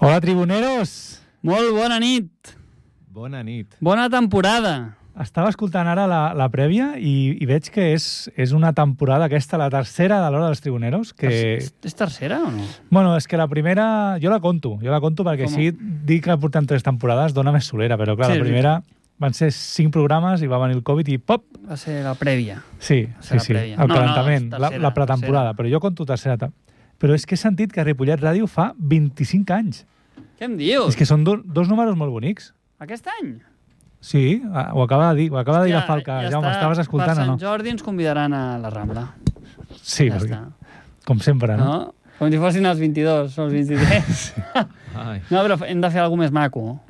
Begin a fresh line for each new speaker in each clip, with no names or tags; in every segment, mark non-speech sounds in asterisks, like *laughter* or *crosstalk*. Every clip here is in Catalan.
Hola, tribuneros!
Molt bona nit,
Bona nit.
bona temporada.
Estava escoltant ara la, la prèvia i, i veig que és, és una temporada aquesta, la tercera de l'hora dels tribuneros, que...
És, és tercera o no?
Bueno, és que la primera... Jo la conto, jo la conto perquè
Com?
així dir que portem tres temporades dona més solera, però clar,
Sí,
sí,
és
la primera van ser cinc programes i va venir el Covid i pop!
Va ser la prèvia.
Sí, sí,
Serà
sí,
prèvia.
el
No, no,
calentament,
és
la,
tercera,
la pretemporada, però jo conto tercera. ta- Però és que he sentit que Ripollet Ràdio fa 25 anys.
Què em dius?
És que són do, dos números molt bonics.
Aquest any?
Sí, ah, ho acaba de dir, ho acaba de dir la
Ja-
Falca.
ja
Ja Jaume,
està.
estaves escoltant
per
o no?
Per Sant Jordi ens convidaran a la Rambla.
Sí,
ja
perquè-
està.
com sempre, no?
No? Com si fossin els 22 o els 23.
*laughs*
Ai.
No, però hem de fer alguna més maco,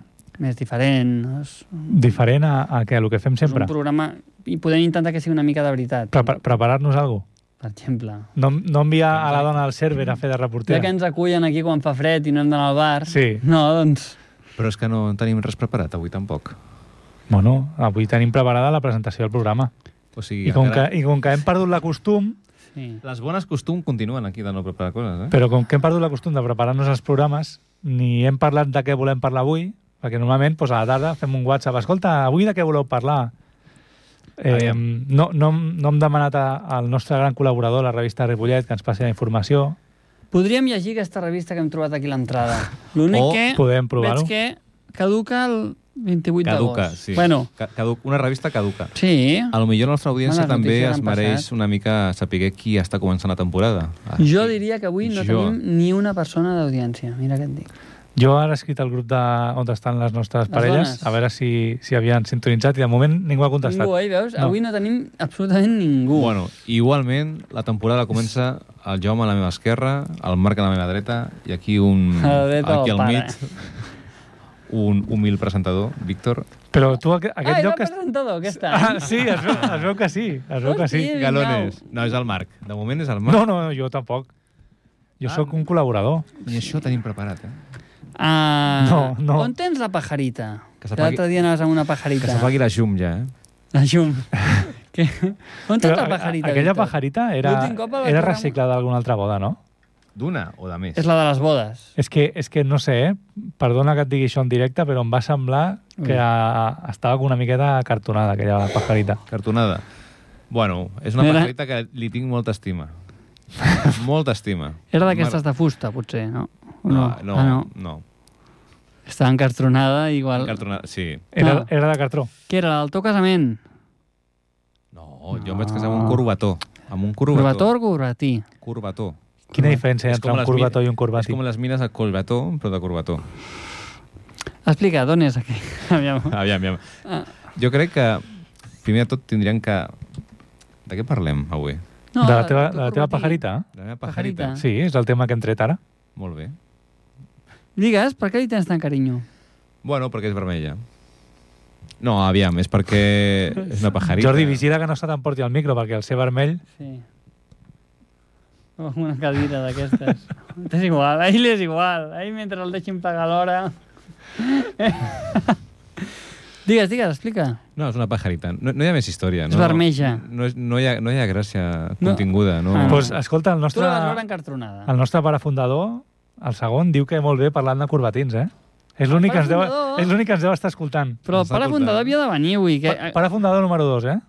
més diferent. És
Diferent a, a què, el que fem
és
sempre.
un programa... I podem intentar que sigui una mica de veritat.
Prepa- Preparar-nos alguna cosa.
Per exemple.
No, no enviar a la dona del server a fer de
Ja que
reportera.
ens acullen aquí quan fa fred i no hem d'anar al bar.
Sí.
No, doncs...
Però és que no en tenim res preparat avui tampoc.
Bueno, avui tenim preparada la presentació del programa.
O sigui,
I com que,
encara...
i com que hem perdut la costum,
Sí.
Les bones costums continuen aquí de no preparar coses, eh?
però com que hem perdut la costum de preparar-nos els programes, ni hem parlat de què volem parlar avui, perquè normalment doncs, a la tarda fem un WhatsApp. Escolta, avui de què voleu parlar? Eh,
Aviam.
no, no, hem- no hem demanat a- al nostre gran col·laborador, la revista Ripollet, que ens passi la informació.
Podríem llegir aquesta revista que hem trobat aquí a l'entrada. *laughs* Oh, L'únic
O
que
podem provar-ho.
veig que caduca el 28
Caduca,
d'agost.
sí.
Bueno,
Ca- Caduc, una revista caduca.
sí.
A lo millor la nostra audiència
Bones
també
notícies
es
han
mereix
passat.
una mica saber qui està començant la temporada. Ah,
Jo
sí.
diria que avui no
Jo.
tenim ni una persona d'audiència. Mira què et dic.
Jo ara he escrit al grup de on estan les nostres
Les
parelles,
dones.
a veure si, si havien sintonitzat i de moment ningú ha contestat.
Ningú, eh? Veus?
No.
Avui no tenim absolutament ningú.
Bueno, igualment, la temporada comença el Jaume a la meva esquerra, el Marc a la meva dreta, i aquí un...
*laughs* A la dreta
aquí
del
al
pare.
mig, un humil presentador, Víctor.
Però tu, aqu- aquest
ah,
lloc...
és el
est-
presentador, aquest any.
Ah, sí, es veu, es veu que sí, es
Oh,
veu que sí.
Hosti.
Galones. No, és el Marc. De moment és el Marc.
No, no, no, jo tampoc. Jo
Ah.
sóc un col·laborador.
I això tenim preparat, eh?
Ah,
No, no.
On tens la pajarita?
Que
Que
s'apagui-
L'altre dia anaves amb una pajarita.
Que s'apagui la llum ja, eh?
La *laughs* llum. que... On tens
Però
la
a-
pajarita,
aquella
Víctor?
pajarita era,
L'últim cop el
era
programa-
reciclada d'alguna altra boda, no?
D'una o de més?
És la de les bodes.
És que, és que no sé, eh? perdona que et digui això en directe, però em va semblar que a, estava una miqueta cartonada aquella pajarita.
Cartonada. Bueno, és una
Era-
pajarita que li tinc molta *laughs* estima. molta estima.
Era d'aquestes de fusta, potser, no? O
No, no,
Ah,
no.
no.
no.
Estava encastronada, igual...
Cartonada, sí.
Era,
Ah.
era de cartró.
Què era, el teu casament?
No, jo em vaig casar amb un corbató. Amb un corbató.
Curvator o curvatí?
Corbató.
Quina diferència hi ha
És com
entre un
les mi-
curvató i un
És
curvatí?
com les mines de colbató, però de corbató.
Explica, d'on és aquell? *laughs* Aviam.
Aviam, aviam.
Ah.
Jo crec que, primer de tot, tindrien que... De què parlem avui?
No, de la
del
teva,
teu
de la teva
curvatí.
pajarita?
De la meva pajarita?
Pajarita.
Sí, és el tema que hem tret ara.
Molt bé.
Digues, per què li tens tant carinyo?
Bueno, perquè és vermella. No, aviam, és perquè és una pajarita.
Jordi, vigila que no se t'emporti el micro, perquè el ser vermell...
Sí. Una cadira
*laughs*
d'aquestes. és igual, a ell és igual. A ell, mentre el deixin pagar l'hora... *laughs* digues, digues, explica.
No, és una pajarita. No, no hi ha més història.
És
No,
vermella.
No, és, no, hi ha, no hi ha gràcia
No.
continguda. No.
Doncs
Ah, no.
pues, escolta, el
Tu
nostre,
la vas veure encastronada.
el nostre pare fundador, el segon, diu que molt bé parlant de corbatins, eh? És l'únic que, ens deu,
Pare fundador.
és l'únic que ens deu estar escoltant.
Però el
Està
pare
escoltant.
fundador havia de venir avui. Que...
Pa, pare fundador número 2, eh?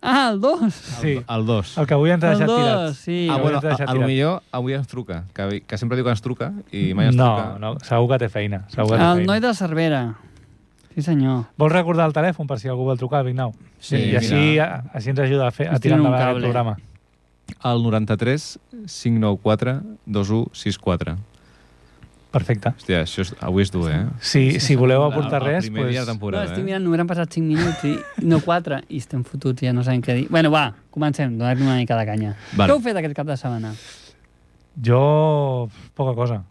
Ah, el dos!
Sí,
El 2.
el que avui ens ha
El
deixat
dos,
tirat.
sí.
Ah,
avui
bueno,
ens ha
a,
deixat
a lo
tirat.
millor avui ens truca, que, que sempre diu que ens truca i mai ens truca.
No, no, segur que té feina. Segur que té
El
feina.
noi de Cervera. Sí, senyor.
Vols recordar el telèfon per si algú vol trucar, Vignau?
Sí,
I així, a, així ens ajuda a, fer, a
Ens
tirar
tira un
endavant el
cable.
programa.
El 93 594 2164.
Perfecte.
Hòstia, això és, avui és dur, eh?
Si, si voleu
Ah,
aportar
el, el
res,
primer dia de
pues,
No,
temporada,
estic
eh?
mirant, només han passat 5 minuts, i, no 4, i estem fotuts, ja no sabem què dir. Bueno, va, comencem, donar-li una mica de canya.
Vale.
Què heu fet aquest cap de setmana?
jo... poca cosa.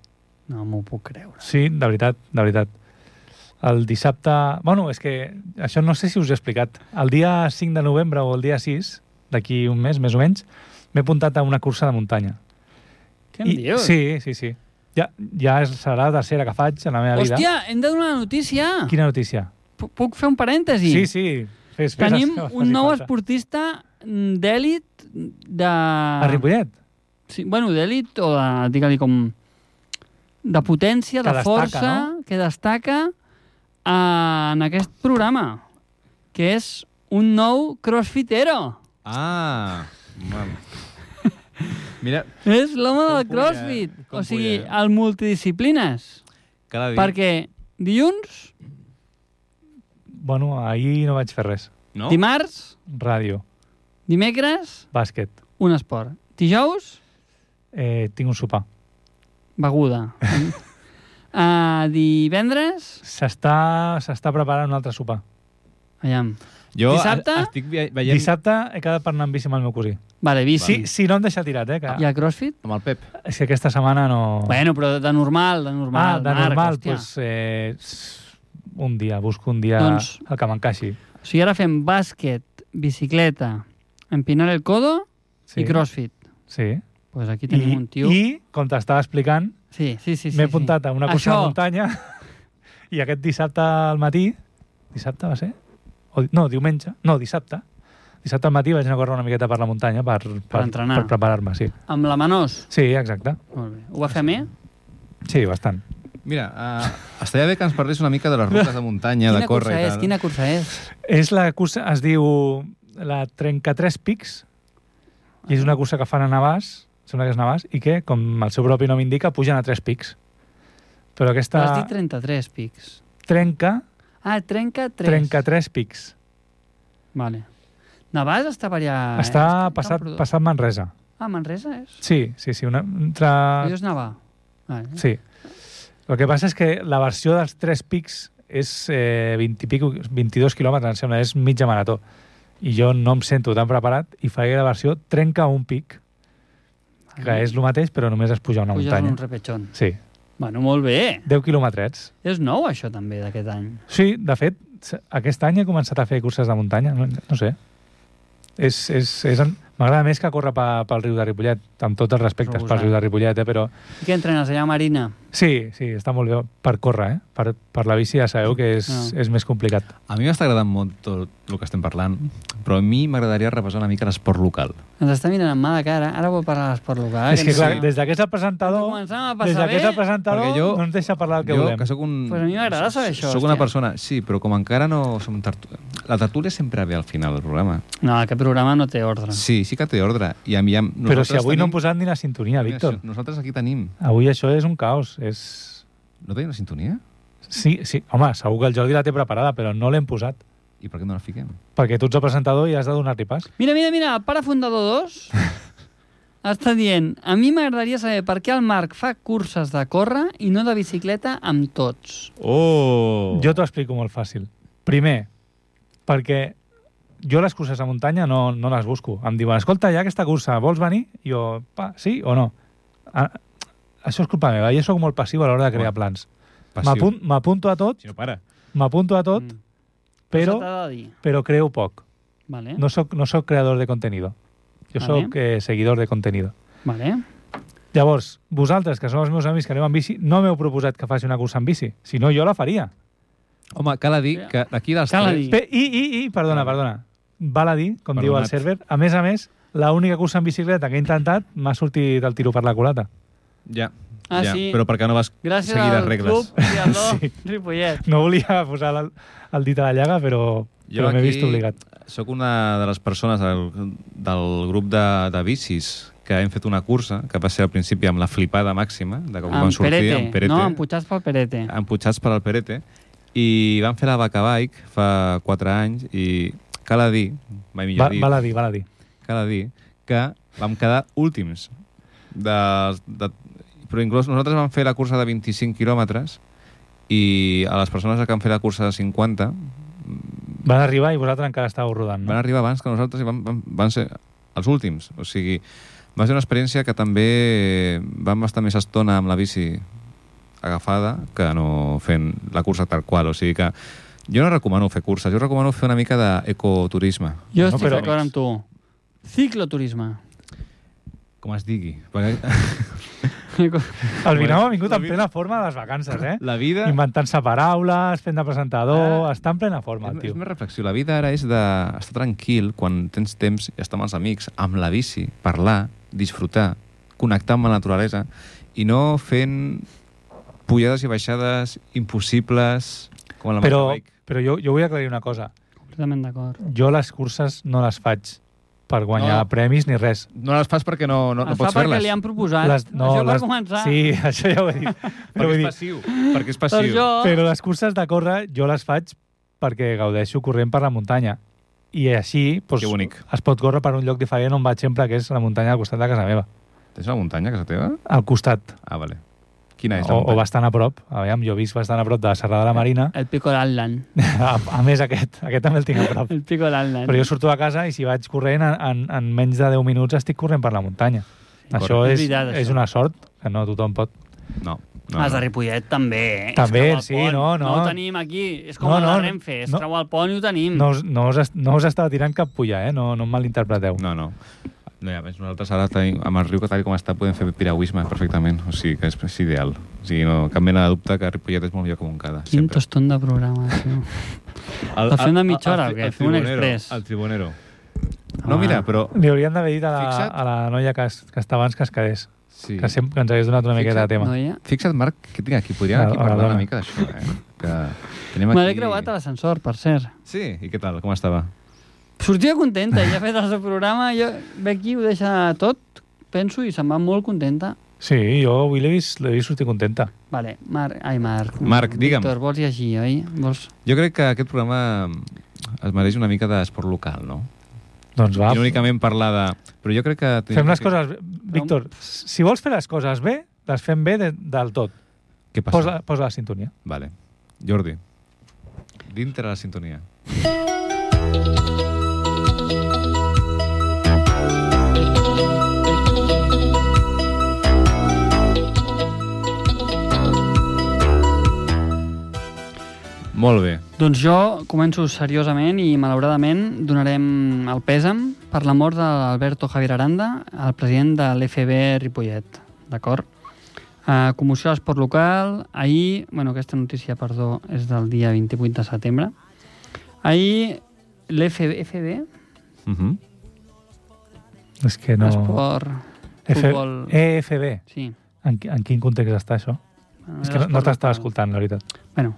No m'ho puc creure.
Sí, de veritat, de veritat. El dissabte... Bueno, és que això no sé si us he explicat. El dia 5 de novembre o el dia 6, d'aquí un mes, més o menys, m'he apuntat a una cursa de muntanya.
Què em
I-
dius?
Sí, sí, sí. Ja, ja és- serà la tercera que faig en la meva vida.
Hòstia, hem de donar una notícia.
Quina notícia?
P- Puc fer un parèntesi?
Sí, sí. Fes, fes,
Tenim
que faci
un nou
falta.
esportista mm, d'èlit de...
A Ripollet?
Sí, bueno, d'èlit o de... Digue-li com... de potència,
Que
de
destaca,
força,
no?
que destaca eh, en aquest programa, que és un nou crossfitero.
Ah!
*laughs*
Mam. Mira,
És l'home del
Com puja,
crossfit.
com
o sigui,
puja.
el multidisciplines.
cada dia...
Perquè dilluns,
Bueno, ahir no vaig fer res.
No?
dimarts,
Ràdio,
dimecres,
bàsquet,
un esport. Dijous,
eh, tinc un sopar.
*laughs*
beguda. uh, divendres,
S'està s'està preparant un altre sopar.
aviam,
Jo
Dissabte?
a- estic ve-
Veiem...
veient
Dissabte he quedat per anar amb bici amb el meu cosí.
vale, bici.
Si, si no em deixa tirat, eh? Que,
I el crossfit?
amb el Pep.
És que aquesta setmana no...
Oh. Bueno, però de normal, de normal.
ah, de
Marc,
normal,
hòstia.
doncs... Eh, s- un dia, busco un dia
Doncs-
el que m'encaixi.
O sigui, ara fem bàsquet, bicicleta, empinar el codo sí. i crossfit.
Sí.
Pues aquí tenim
I,
un tio...
I, com t'estava explicant,
Sí, sí, sí. sí
m'he
sí.
apuntat a una cursa
Això,
de muntanya *laughs* i aquest dissabte al matí... Dissabte va ser? O, di- no, diumenge. No, dissabte. Dissabte al matí vaig anar a córrer una miqueta per la muntanya per, per,
Per entrenar.
Per preparar-me, sí.
Amb la Manós.
Sí, exacte.
Molt bé. Ho va fer més?
Sí, bastant.
Mira, uh, estaria bé que ens parlés una mica de les rutes de muntanya,
Quina
de córrer
cursa
i
és?
tal.
Quina cursa és?
És la cursa, es diu la 33 Pics, i és una cursa que fan a Navàs, sembla que és Navàs, i que, com el seu propi nom indica, pugen a 3 pics. Però
Ta...
aquesta
Has dit 33 pics.
trenca,
Ah, trenca 3.
trenca 3 pics.
Vale. Navàs està per allà... eh?
Està
a
passat,
Camprodon.
passat Manresa.
Ah, Manresa és?
Sí, sí, sí. Una, entre...
Ah. Jo és Navà. Vale.
Sí. El que passa és que la versió dels 3 pics és eh, 20 i pico, 22 quilòmetres, em sembla, és mitja marató. I jo no em sento tan preparat i faré la versió trenca un pic, que és el mateix, però només es puja a una
Puges
muntanya.
Ah. un repetxon.
Sí,
Bueno, molt bé.
10 quilometrets.
És nou, això, també, d'aquest any.
Sí, de fet, s- aquest any he començat a fer curses de muntanya, no, no sé. És, és, és en... M'agrada més que córrer pe, pel riu de Ripollet, amb tots els respectes
Suposant.
pel riu de Ripollet, eh, però
I què entrenes allà a Marina?
sí, sí, està molt bé per córrer, eh? Per, per la bici ja sabeu que és,
Ah.
no. és més complicat.
A mi m'està agradant molt tot el que estem parlant, però a mi m'agradaria repassar una mica l'esport local.
Ens està mirant amb mà de cara. Ara vol parlar de l'esport
Ah,
local.
és que, clar,
ens-
des de que és el presentador,
Començàvem a ¿eh?
des
passar
de que és el
bé.
presentador
Perquè jo-
no ens deixa parlar el que
jo,
volem.
que sóc un...
Pues a mi m'agrada saber això,
Sóc una
hòstia.
persona, sí, però com encara no som tertu... La tertúlia sempre ve al final del programa.
No, aquest programa no té ordre.
Sí, sí que té ordre. I a mi, ja-
Però si
nosaltres
avui
tenim...
no hem posat ni la sintonia,
Mira,
Víctor.
això, Nosaltres aquí tenim...
Avui això és un caos. És...
No tenim la sintonia?
Sí, sí, home, segur que el Jordi la té preparada, però no l'hem posat.
I per què no la fiquem?
Perquè tu ets el presentador i has de donar-li pas.
Mira, mira, mira, el pare
*laughs*
fundador 2 està dient a mi m'agradaria saber per què el Marc fa curses de córrer i no de bicicleta amb tots.
Oh!
Jo t'ho explico molt fàcil. Primer, perquè jo les curses a muntanya no, no les busco. Em diuen, escolta, hi ha aquesta cursa, vols venir? I jo, pa, sí o no? A, això és culpa meva, jo sóc molt passiu a l'hora de crear plans. M'apun- M'apunto a tot,
Si no para.
m'apunto a tot,
Mm.
però,
Això t'ha de dir.
però creo poc.
Vale.
No sóc no soc creador de contenido. Jo
Eh? Vale.
sóc eh, seguidor de contenido.
Vale.
Llavors, vosaltres, que sou els meus amics que anem amb bici, no m'heu proposat que faci una cursa amb bici. Si no, jo la faria.
Home, cal a dir que aquí dels
Cal a
tres...
dir.
Pe I, i, i, perdona, perdona. Val a dir, com diu el
Perdonat.
server, a més a més, l'única cursa en bicicleta que he intentat m'ha sortit el tiro per la culata.
Ja,
Ah,
ja.
sí.
Però per què no vas
Gràcies
seguir les
al
regles?
Club Triatló
*laughs* Sí.
Ripollet.
No volia posar el, el dit a la llaga, però,
Jo
però m'he
aquí
vist obligat.
Soc una de les persones del, del grup de, de bicis que hem fet una cursa, que va ser al principi amb la flipada màxima, de com van
Amb
sortir,
Perete.
amb Perete, Ah.
No, amb Puigats pel Perete.
emputxats per al Perete, i van fer la vaca bike fa 4 anys, i cal a dir,
Va,
mai millor dit,
val a dir, val a dir.
cal a dir, que vam quedar últims. De, de, però inclús nosaltres vam fer la cursa de 25 quilòmetres i a les persones que han fet la cursa de 50
Van arribar i vosaltres encara estàveu rodant,
van
no?
arribar abans que nosaltres i van, van, van ser els últims. O sigui, va ser una experiència que també vam estar més estona amb la bici agafada que no fent la cursa tal qual. O sigui que jo no recomano fer curses, jo recomano fer una mica d'ecoturisme.
Jo
No,
estic
però-
d'acord amb tu. Cicloturisme. *laughs*
Com es digui. Perquè
El Vinau ha vingut
Bueno,
en plena forma de les vacances, eh?
la vida...
Inventant-se paraules, fent de presentador...
Ah.
Està en plena forma, el
és, és
tio.
una reflexió. La vida ara és d'estar tranquil quan tens temps i estar amb els amics, amb la bici, parlar, disfrutar, connectar amb la naturalesa i no fent pujades i baixades impossibles, com a la
Però,
mountain bike.
però jo, jo vull aclarir una cosa.
Completament d'acord.
Jo les curses no les faig per guanyar
No.
premis ni res.
No les fas perquè no, no,
No,
no
es fa
pots
perquè
fer-les.
li han proposat.
les,
això per començar.
Sí, *laughs* això ja ho he dit. però
Perquè
vull
és
dir,
passiu. Perquè és
Per
passiu.
Doncs jo...
Però les curses de córrer jo les faig perquè gaudeixo corrent per la muntanya. I així doncs,
Que bonic.
es pot córrer per un lloc diferent on vaig sempre, que és la muntanya al costat de casa meva.
Tens una muntanya a casa teva?
Al costat,
Ah, vale. Quina és
o,
la
o
muntanya?
bastant a prop. Aviam, jo visc bastant a prop de la Serrada de la Marina. *laughs*
El Pico d'Atlant.
A, a més, aquest, aquest també el tinc a prop.
El Pico d'Atlant.
Però jo surto de casa i si vaig corrent, en, en, en menys de 10 minuts estic corrent per la muntanya. Això
És
és,
veritat, això.
és una sort, que no tothom pot.
No. no,
No, Els de
no.
Ripollet també, eh?
També,
Es treu al
sí,
pont.
no,
No
no.
ho tenim aquí, és com
No,
no, no,
no,
la
no,
Renfe, es
no.
treu al pont i ho
Mm.
tenim.
No us, no us, est- no us estava tirant cap pulla, eh? No, no em malinterpreteu.
No, no. No, i a més, nosaltres ara tenim, amb el riu que tal com està podem fer piragüisme perfectament, o sigui que és, és ideal. O sigui, no, cap mena de dubte que Ripollet és molt millor que Montcada.
Quin
sempre.
toston de programa, tio.
El,
el fem de mitja hora o què?
el
Fem un
tribunero,
express. Ah.
El tribunero.
Home.
Ah,
No, mira, però...
Li hauríem d'haver dit a la,
Fixa't.
a la noia que, es, que està abans que es quedés.
Sí.
Sí. Que sempre que ens hagués donat una miqueta de
Fixa't,
tema.
Noia.
Fixa't, Marc, que tinc aquí. Podríem
Ah,
aquí
ah,
parlar
dona.
una mica d'això, eh? Que tenim
Me l'he creuat a l'ascensor, per cert.
Sí, i què tal? Com estava?
Sortia contenta, ja ha fet el seu programa, jo ve aquí, ho deixa tot, penso, i se'n va molt contenta.
Sí, jo avui l'he vist, l'he vist sortir contenta.
Vale, Marc, ai, Marc.
Marc, digue'm.
Víctor, vols llegir, oi? Vols...
Jo crec que aquest programa es mereix una mica d'esport local, no?
Doncs va,
I no únicament parlar de... Però jo crec que...
fem les coses... Víctor, si vols fer les coses bé, les fem bé de, del tot.
Què passa?
Posa, posa la sintonia.
Vale. Jordi, dintre la sintonia. Molt bé.
Doncs jo començo seriosament i malauradament donarem el pèsam per la mort d'Alberto Javier Aranda, el president de l'FB Ripollet, d'acord? Uh, comoció a l'esport local, ahir, bueno, aquesta notícia, perdó, és del dia 28 de setembre. Ahir l'FB, FB,
Uh -huh.
És que no...
no. esport,
F- Eh,
futbol...
EFB.
Sí.
En, qui- en quin context està això?
Ah,
bueno,
És que no,
l'esport
no t'estava
local.
escoltant, la veritat.
Bueno,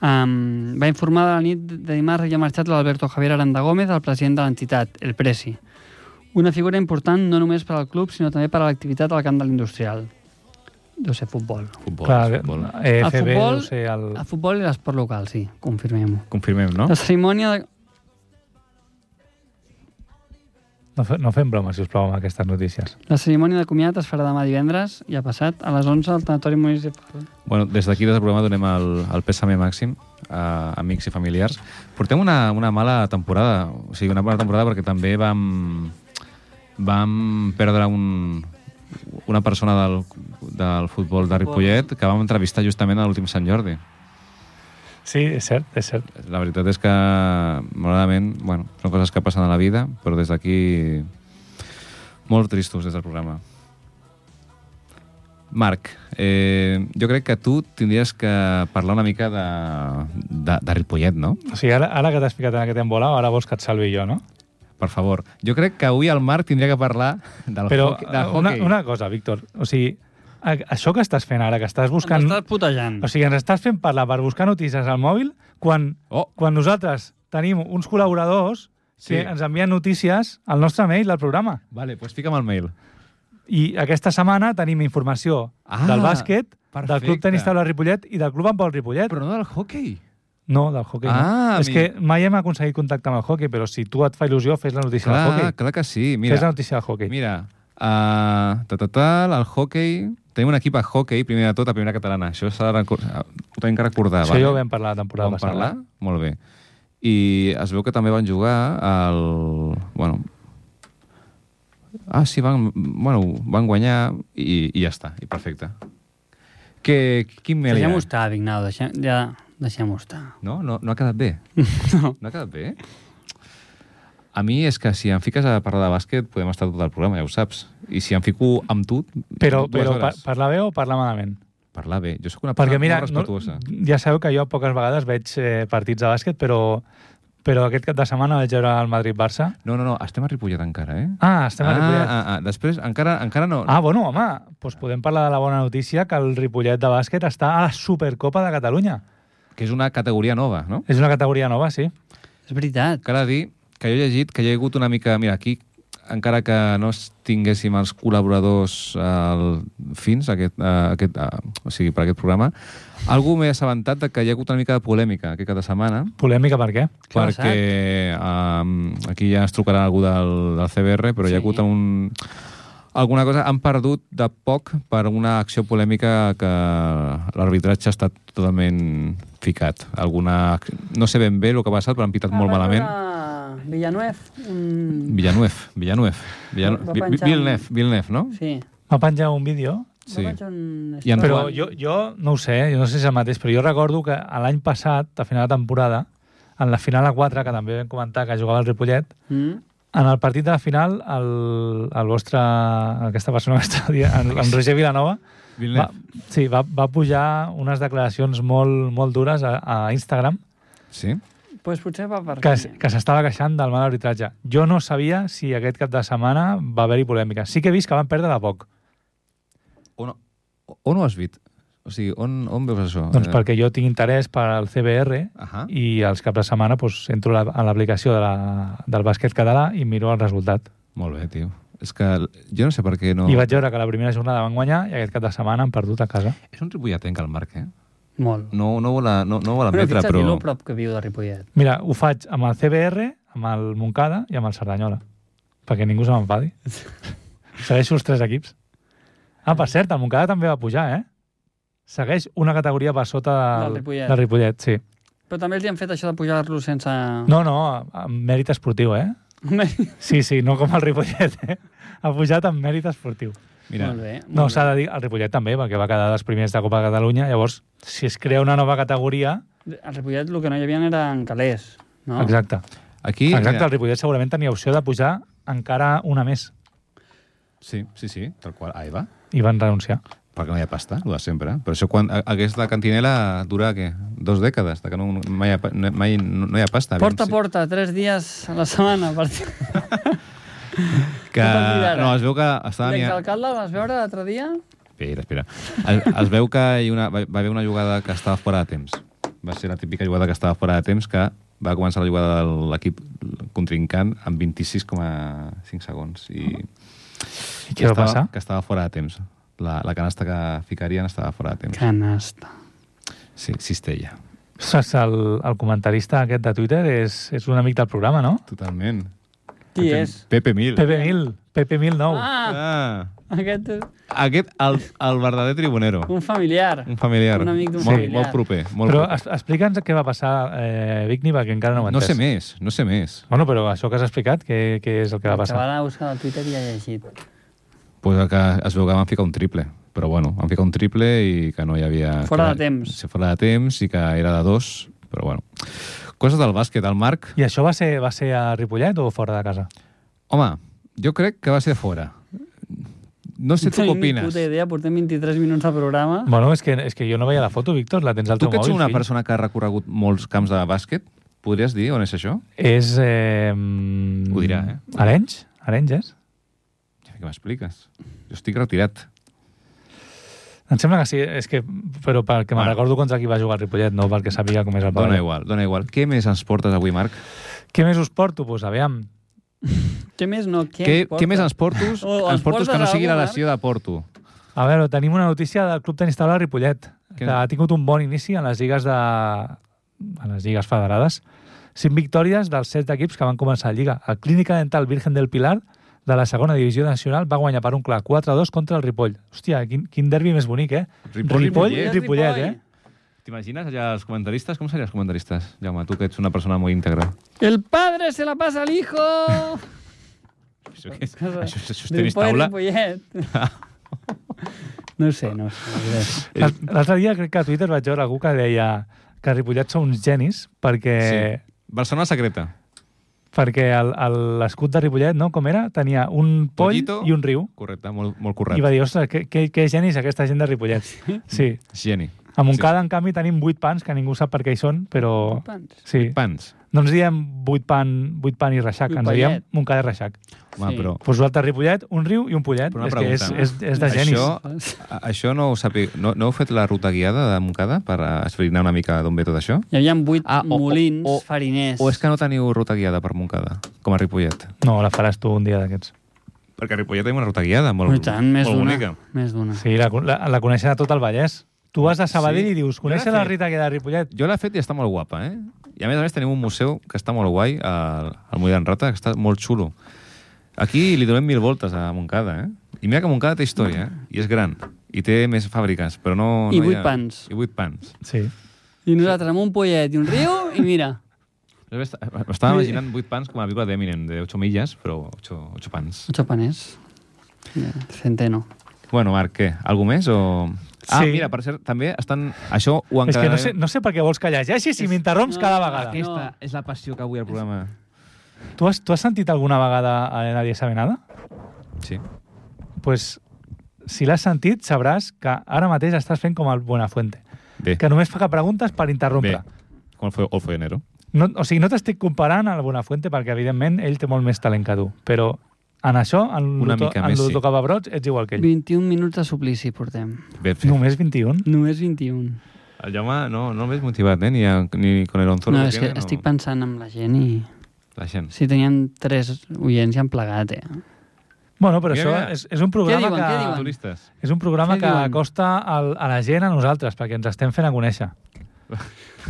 um, va informar de la nit de dimarts ja marxat l'Alberto Javier Aranda Gómez, el president de l'entitat, el Presi. Una figura important no només per al club, sinó també per a l'activitat al camp de l'industrial. Deu ser futbol.
Futbol, futbol.
Clar, eh, E EFB
El futbol-
deu ser el...
El futbol i l'esport local, sí, confirmem-ho.
Confirmem, no?
La cerimònia... De...
No, fe- no fem bromes, sisplau, amb aquestes notícies.
La cerimònia de comiat es farà demà divendres, ja passat, a les 11 al tanatori municipal.
Bueno, des d'aquí, des del programa, donem el, el pèsame màxim a amics i familiars. Portem una, una mala temporada, o sigui, una mala temporada perquè també vam, vam perdre un, una persona del, del futbol de Ripollet que vam entrevistar justament a l'últim Sant Jordi.
Sí, és cert, és cert.
La veritat és que, malauradament, bueno, són coses que passen a la vida, però des d'aquí molt tristos des del programa. Marc, eh, jo crec que tu tindries que parlar una mica de, de, de Ripollet, no?
O sigui, ara, ara que t'has ficat en aquest embolà, ara vols que et salvi jo, no?
Per favor. Jo crec que avui el Marc tindria que parlar del
Però eh,
hockey. Del
una,
hockey.
una cosa, Víctor, o sigui, a, això que estàs fent ara, que estàs buscant...
Ens estàs putejant.
O sigui, ens estàs fent parlar per buscar notícies al mòbil quan,
Oh,
quan nosaltres tenim uns col·laboradors
Sí.
que ens envien notícies al nostre mail del programa.
vale, doncs fica'm el mail.
I aquesta setmana tenim informació
Ah,
del bàsquet, del
perfecte.
Club Tenis Taula Ripollet i del Club Handbol Ripollet.
Però no del hockey.
No, del hockey
Ah,
no. És
mi-
que mai hem aconseguit contactar amb el hockey, però si tu et fa il·lusió, fes la notícia del
Clar,
hockey.
clar que sí. Mira,
Fes la notícia del hockey.
Mira, uh, ta, ta, tal, el hockey... Tenim un equip a hockey, primer de tot, a primera catalana. Això s'ha de recor- ah, ho tenim que recordar.
Això
vale?
ja ho vam parlar la temporada
Vam
passada.
parlar? Molt bé. I es veu que també van jugar al... Bueno, ah, sí, van, bueno, van guanyar i, i ja està, i perfecte. Que, quin mail hi ha?
Deixem-ho estar, Vignau, deixem, ja deixem-ho estar.
No? no? No ha quedat
*laughs*
bé?
No.
No ha quedat bé? A mi és que si em fiques a parlar de bàsquet podem estar tot el programa, ja ho saps. I si em fico amb tu...
Però,
dues
però pa,
hores.
parlar bé o parlar malament?
Parlar bé. Jo sóc una persona
Perquè mira,
molt
no,
respectuosa.
ja sabeu que jo poques vegades veig eh, partits de bàsquet, però Però aquest cap de setmana vaig veure el Madrid-Barça.
No, no, no, estem a Ripollet encara, eh?
Ah, estem a Ripollet.
Ah, ah, ah, després encara, encara no.
Ah, bueno, home, doncs podem parlar de la bona notícia que el Ripollet de bàsquet està a la Supercopa de Catalunya.
Que és una categoria nova, no?
És una categoria nova, sí.
És veritat.
Cal dir que jo he llegit que hi ha hagut una mica... Mira, aquí, encara que no es tinguéssim els col·laboradors al, fins aquest, eh, aquest, eh, o sigui, per aquest programa, algú m'he assabentat de que hi ha hagut una mica de polèmica aquest cada setmana,
Polèmica per què?
Què ha
perquè um, aquí ja ens trucarà algú del, del CBR, però sí. hi ha
Sí.
hagut un, alguna cosa... Han perdut de poc per una acció polèmica que l'arbitratge ha estat totalment ficat. Alguna... ac- No sé ben bé el que ha passat, però han pitat molt malament.
Villanueva, un...
Villanuef, Villanuef.
Va
Villanuef. Vi-
penjar
Vi-
un-
Villeneuve, Villeneuve, no?
Sí.
Va penjar un vídeo
Sí.
Un...
I en-
Però jo, jo no ho sé, eh, jo no sé si és el mateix, però jo recordo que a l'any passat, a final de temporada, en la final a 4, que també vam comentar que jugava el Ripollet,
Mm?
en el partit de la final, el, el vostre, aquesta persona que està dient, en, en Roger Vilanova, va,
Villeneuve.
sí, va, va pujar unes declaracions molt, molt dures a, a Instagram
Sí?
Pues potser va per
que, s- que s'estava queixant del mal arbitratge. Jo no sabia si aquest cap de setmana va haver-hi polèmica. Sí que he vist que van perdre de poc,
On, on ho has vist? O sigui, on, on veus això?
doncs
Eh,
perquè jo tinc interès per al CBR
Ahà.
i els caps de setmana doncs, entro a la- a l'aplicació de la, del bàsquet català i miro el resultat.
Molt bé, tio. És que l- jo no sé per què no...
I vaig veure que la primera jornada van guanyar i aquest cap de setmana han perdut a casa.
És un ripollatenc, el Marc, eh?
Molt.
No, no, vol, a- no, no vol
Bueno,
admetre,
fixa't però...
però...
lo prop que viu de Ripollet.
Mira, ho faig amb el CBR, amb el Moncada i amb el Cerdanyola, perquè ningú se
*laughs*
m'enfadi. Segueixo els tres equips. Ah, per cert, el Moncada també va pujar, eh? Segueix una categoria per sota del,
Del Ripollet.
del Ripollet, sí.
Però també els hi han fet això de pujar-lo sense... *laughs*
No, no, amb mèrit esportiu, eh? Sí, sí, no com el Ripollet, eh? Ha pujat amb mèrit esportiu.
Mira,
Molt bé.
No,
molt
s'ha de dir el Ripollet també, perquè va quedar dels primers de Copa de Catalunya. Llavors, si es crea una nova categoria...
bé. Al Ripollet el que no hi havia eren calés, no?
Exacte.
aquí...
Exacte, el
Mira,
Ripollet segurament tenia opció de pujar encara una més
sí, sí, sí, tal qual. Ahí va.
i van renunciar.
Perquè no hi ha pasta, el de sempre. Però això, quan ha- aquesta cantinela dura, què? Dos dècades, de que no, mai, hi ha pa- no- mai no, no hi ha pasta. Aviam
Porta a
si-
porta, tres dies a la setmana. Per...
Que...
a partir d'ara.
No, es veu que estava...
L'exalcalde el vas veure l'altre dia?
Espera, espera. Es, es veu que hi una, va, va haver una jugada que estava fora de temps. Va ser la típica jugada que estava fora de temps que va començar la jugada de l'equip contrincant amb 26,5 segons. I
I què va
estava,
passar?
Que estava fora de temps. La, la canasta que ficarien estava fora de temps.
Canasta.
Sí, cistella.
Ostres, el, el comentarista aquest de Twitter és, és un amic del programa, no?
Totalment.
Qui
Pepe-
és?
Pepe Mil.
Pepe Mil, Pepe Mil nou.
Ah,
Ah,
aquest és
aquest, el, el verdader tribunero.
un familiar.
Un familiar.
Un amic d'un
molt,
familiar.
Molt proper. Molt
Però
proper.
es- explica'ns què va passar, eh, Vigni, perquè encara no ho he
No
entès.
sé més, no sé més.
Bueno, però això que has explicat, què, què és el que va
Que va
passar?
anar a buscar al Twitter i ha llegit.
Pues el que es veu que van ficar un triple, però bueno, van ficar un triple i que no hi havia...
Fora
que,
de temps.
Sí, fora de temps i que era de dos, però bueno. Coses del bàsquet, el Marc...
I això va ser, va ser a Ripollet o fora de casa?
Home, jo crec que va ser fora. No sé tu què
Tenim ni
opines.
puta idea, portem 23 minuts de programa.
Bueno, és que, és que jo no veia la foto, Víctor, la tens al
Tu
teu
que ets
mòbil,
una
fill.
persona que ha recorregut molts camps de bàsquet, podries dir on és això?
És... Eh, mm,
Ho dirà, eh?
Arenys? Arenys és?
Què m'expliques? Jo estic retirat.
Em sembla que sí, és que, però perquè me'n
Bueno.
recordo contra qui va jugar el Ripollet, no perquè sabia com és el
Dona
pavelló.
igual, dona igual. Què més ens portes avui, Marc?
Què més us porto? Doncs pues, aviam,
Què més no? Què,
Què,
ens
què més ens
porta?
portos?
O ens
ens portos que
portes
no sigui la
algú,
lesió de Porto.
a veure, tenim una notícia del Club Tenis Taula de Ripollet,
Què?
que ha tingut un bon inici en les lligues de... en les lligues federades. Cinc victòries dels set equips que van començar la lliga. El Clínica Dental Virgen del Pilar, de la segona divisió nacional, va guanyar per un clar 4-2 contra el Ripoll. Hòstia, quin, quin derbi més bonic, eh?
Ripoll i
Ripoll i
Ripollet.
Ripollet, eh?
T'imagines allà els comentaristes? Com serien els comentaristes? Jaume, tu que ets una persona molt íntegra.
El padre se la pasa al
*laughs*
hijo.
Això, que és,
Cosa-
això, això és
Del
tenis
pobre
taula.
Ripollet.
*laughs*
No ho sé, no ho sé. res.
Eh.
L'al- L'altre dia crec que a Twitter vaig veure algú que deia que Ripollet són uns genis perquè,
Sí. Barcelona secreta.
perquè el- el- l'escut de Ripollet, no? Com era? Tenia un poll
Pollito.
i un riu.
Correcte, molt, molt
I
correcte.
va dir, ostres, que, que, que genis aquesta gent de Ripollet. Sí,
Geni.
em A Montcada, sí. en canvi, tenim vuit pans, que ningú sap per què hi són, però...
Pans.
Sí.
Pans.
No ens diem vuit pan, vuit pan i reixac,
Vuit
ens diem
pallet.
Montcada i reixac.
Home,
Sí.
però
Pues vosaltres Ripollet, un riu i un pollet.
Però una
És que és,
pregunta.
és, és de genis.
Això- a- això no ho sàpiga. No, no heu fet la ruta guiada de Montcada per eh, esbrinar una mica d'on ve tot això?
Hi havia vuit
Ah,
ah,
o- o-
molins
o-
fariners.
O és que no teniu ruta guiada per Montcada, com a Ripollet?
No, la faràs tu un dia d'aquests.
Perquè a Ripollet tenim una ruta guiada molt,
Però i tant, més
molt
d'una.
bonica.
Més d'una.
Sí, la, la, la coneixen a tot el Vallès. Tu vas a Sabadell
Ah. Sí.
i dius,
Jo
coneixes
la
la
sé.
Rita que de Ripollet?
Jo l'he fet i està molt guapa, eh? I a més a més tenim un museu que està molt guai, al, al Moll d'en Rata, que està molt xulo. Aquí li donem mil voltes a Montcada, eh? I mira que Montcada té història, eh? I és gran. I té més fàbriques, però no...
I
no hi
vuit
ha-
pans.
I vuit pans.
Sí.
I nosaltres amb un pollet i un riu i mira.
M'estava imaginant vuit pans com a pel·lícula d'Eminem, de 8 milles, però 8, 8 pans.
Ocho paners. Ja, Centeno.
Bueno, Marc, què? Algú més o...? Ah,
Sí.
mira, per cert, també estan... Això
És que
ho
no sé,
encadenarem...
no sé per què vols que llegeixis si
És-
m'interromps
no,
cada
no,
vegada.
aquest-
Aquesta és la passió que avui al programa...
Tu has, tu has sentit alguna vegada a Elena Díaz Avenada?
Sí.
Doncs pues, si l'has sentit sabràs que ara mateix estàs fent com el Buenafuente,
Bé,
que només fa que preguntes per
bé.
interrompre.
Com el Olfoenero.
No, o sigui, no t'estic comparant al Buenafuente perquè, evidentment, ell té molt més talent que tu, però en això, en
Una
Luto,
mica
en
més,
Luto
sí.
Cababrots, ets igual que ell.
21 minuts de suplici portem.
Ben fet.
Només 21?
Només 21.
El Jaume no, no el veig motivat, eh? Ni, a, ni con el Onzolo.
no, és que estic pensant amb la gent i...
La gent.
Si teníem tres oients ja han plegat, eh?
Bueno, però
Mira,
això
mira.
és, és un programa
diuen, què diuen?
que...
Turistes.
És un programa
Què
que
diuen?
acosta al, a la gent a nosaltres, perquè ens estem fent a conèixer.
*laughs*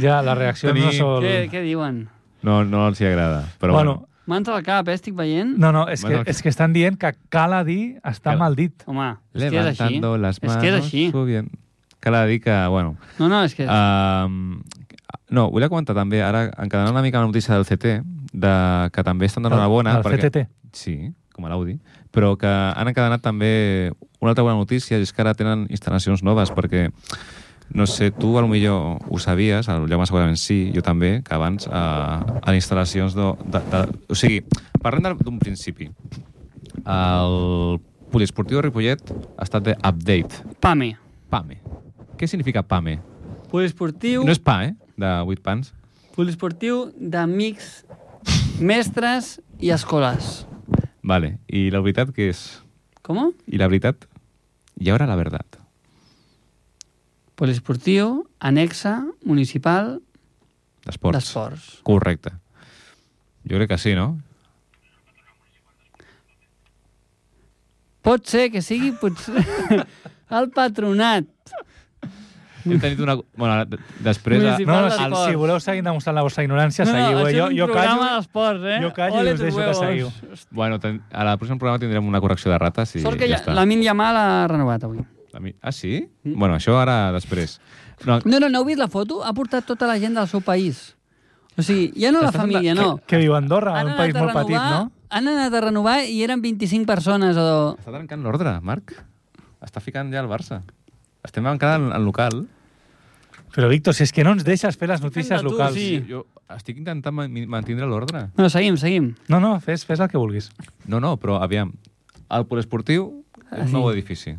Ja, les reaccions
Tenim-
no són...
Què, què diuen?
No, no els hi agrada. Però
bueno,
bueno,
Mans al cap, eh? Estic veient?
no, no, és que,
Bueno,
és que estan dient que cala dir està
Cala.
mal dit.
Home, és que és així.
levantando les
És
manos,
que és així.
Subien. Cal dir que, bueno...
No, no, és que...
Ah.
Um, no, vull comentar també, ara encadenant una mica la notícia del CT, de, que també estan donant una bona...
El, el CTT.
Sí, com a l'Audi, però que han encadenat també una altra bona notícia, i és que ara tenen instal·lacions noves, perquè, no sé, tu a lo millor ho sabies, el Jaume segurament sí, jo també, que abans eh, a instal·lacions de, de, de... O sigui, parlem del- d'un principi. El poliesportiu de Ripollet ha estat de update,
Pame.
PAME. E. Què significa PAME?
Poliesportiu...
No és PA, eh? De 8 pans.
Poliesportiu d'amics, mestres i escoles.
Vale. I la veritat que és...
Com?
I la veritat... I ara la veritat.
Poliesportiu, anexa, municipal,
D'esports.
d'esports.
Correcte. Jo crec que sí, no?
Pot ser que sigui *laughs* potser el patronat.
Hem tenit una... Bueno, ara, d- després... A...
No, no,
Municipal. Parla
si,
d'esports.
si voleu seguir demostrant la vostra ignorància,
No, no,
seguiu. eh?
això
jo,
és un
jo
programa
callo,
d'esports, eh?
jo callo i
Ole
us
tus
deixo que
huevos.
seguiu.
Bueno, ten... a la pròxima programa tindrem una correcció de rates i
Sort que
ja
ja,
està.
l'Amin Yamal ha renovat avui.
La mi- Ah, sí? Mm. Bueno, això ara després. No,
No, no, no heu vist la foto? Ha portat tota la gent del seu país. O sigui, ja no la
Estàs en la-
família, no.
Que viu a Andorra, en Ah, un
Han anat
país
a
molt petit,
renovar-
no?
Han anat a renovar i eren 25 persones o...
està trencant l'ordre, Marc. Està ficant ja el Barça. Estem encara en, en local.
Però, Víctor, si és que no ens deixes fer les notícies
fent de tu,
locals.
sí.
Jo estic intentant ma- mi- mantindre l'ordre.
No, seguim, seguim.
No, no, fes, fes el que vulguis.
No, no, però aviam. El poliesportiu és un nou edifici.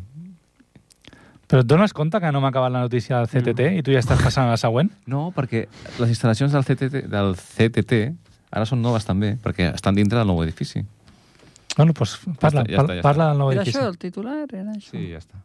Però et dones compte que no m'ha acabat la notícia del CTT
Mm.
i tu ja estàs passant a la següent?
No, perquè les instal·lacions del CTT, del CTT ara són noves també, perquè estan dintre del nou edifici.
Bueno, doncs parla,
Ja està, ja
parla,
està.
parla del nou
Era
edifici.
això, el titular? Era això.
Sí, ja està.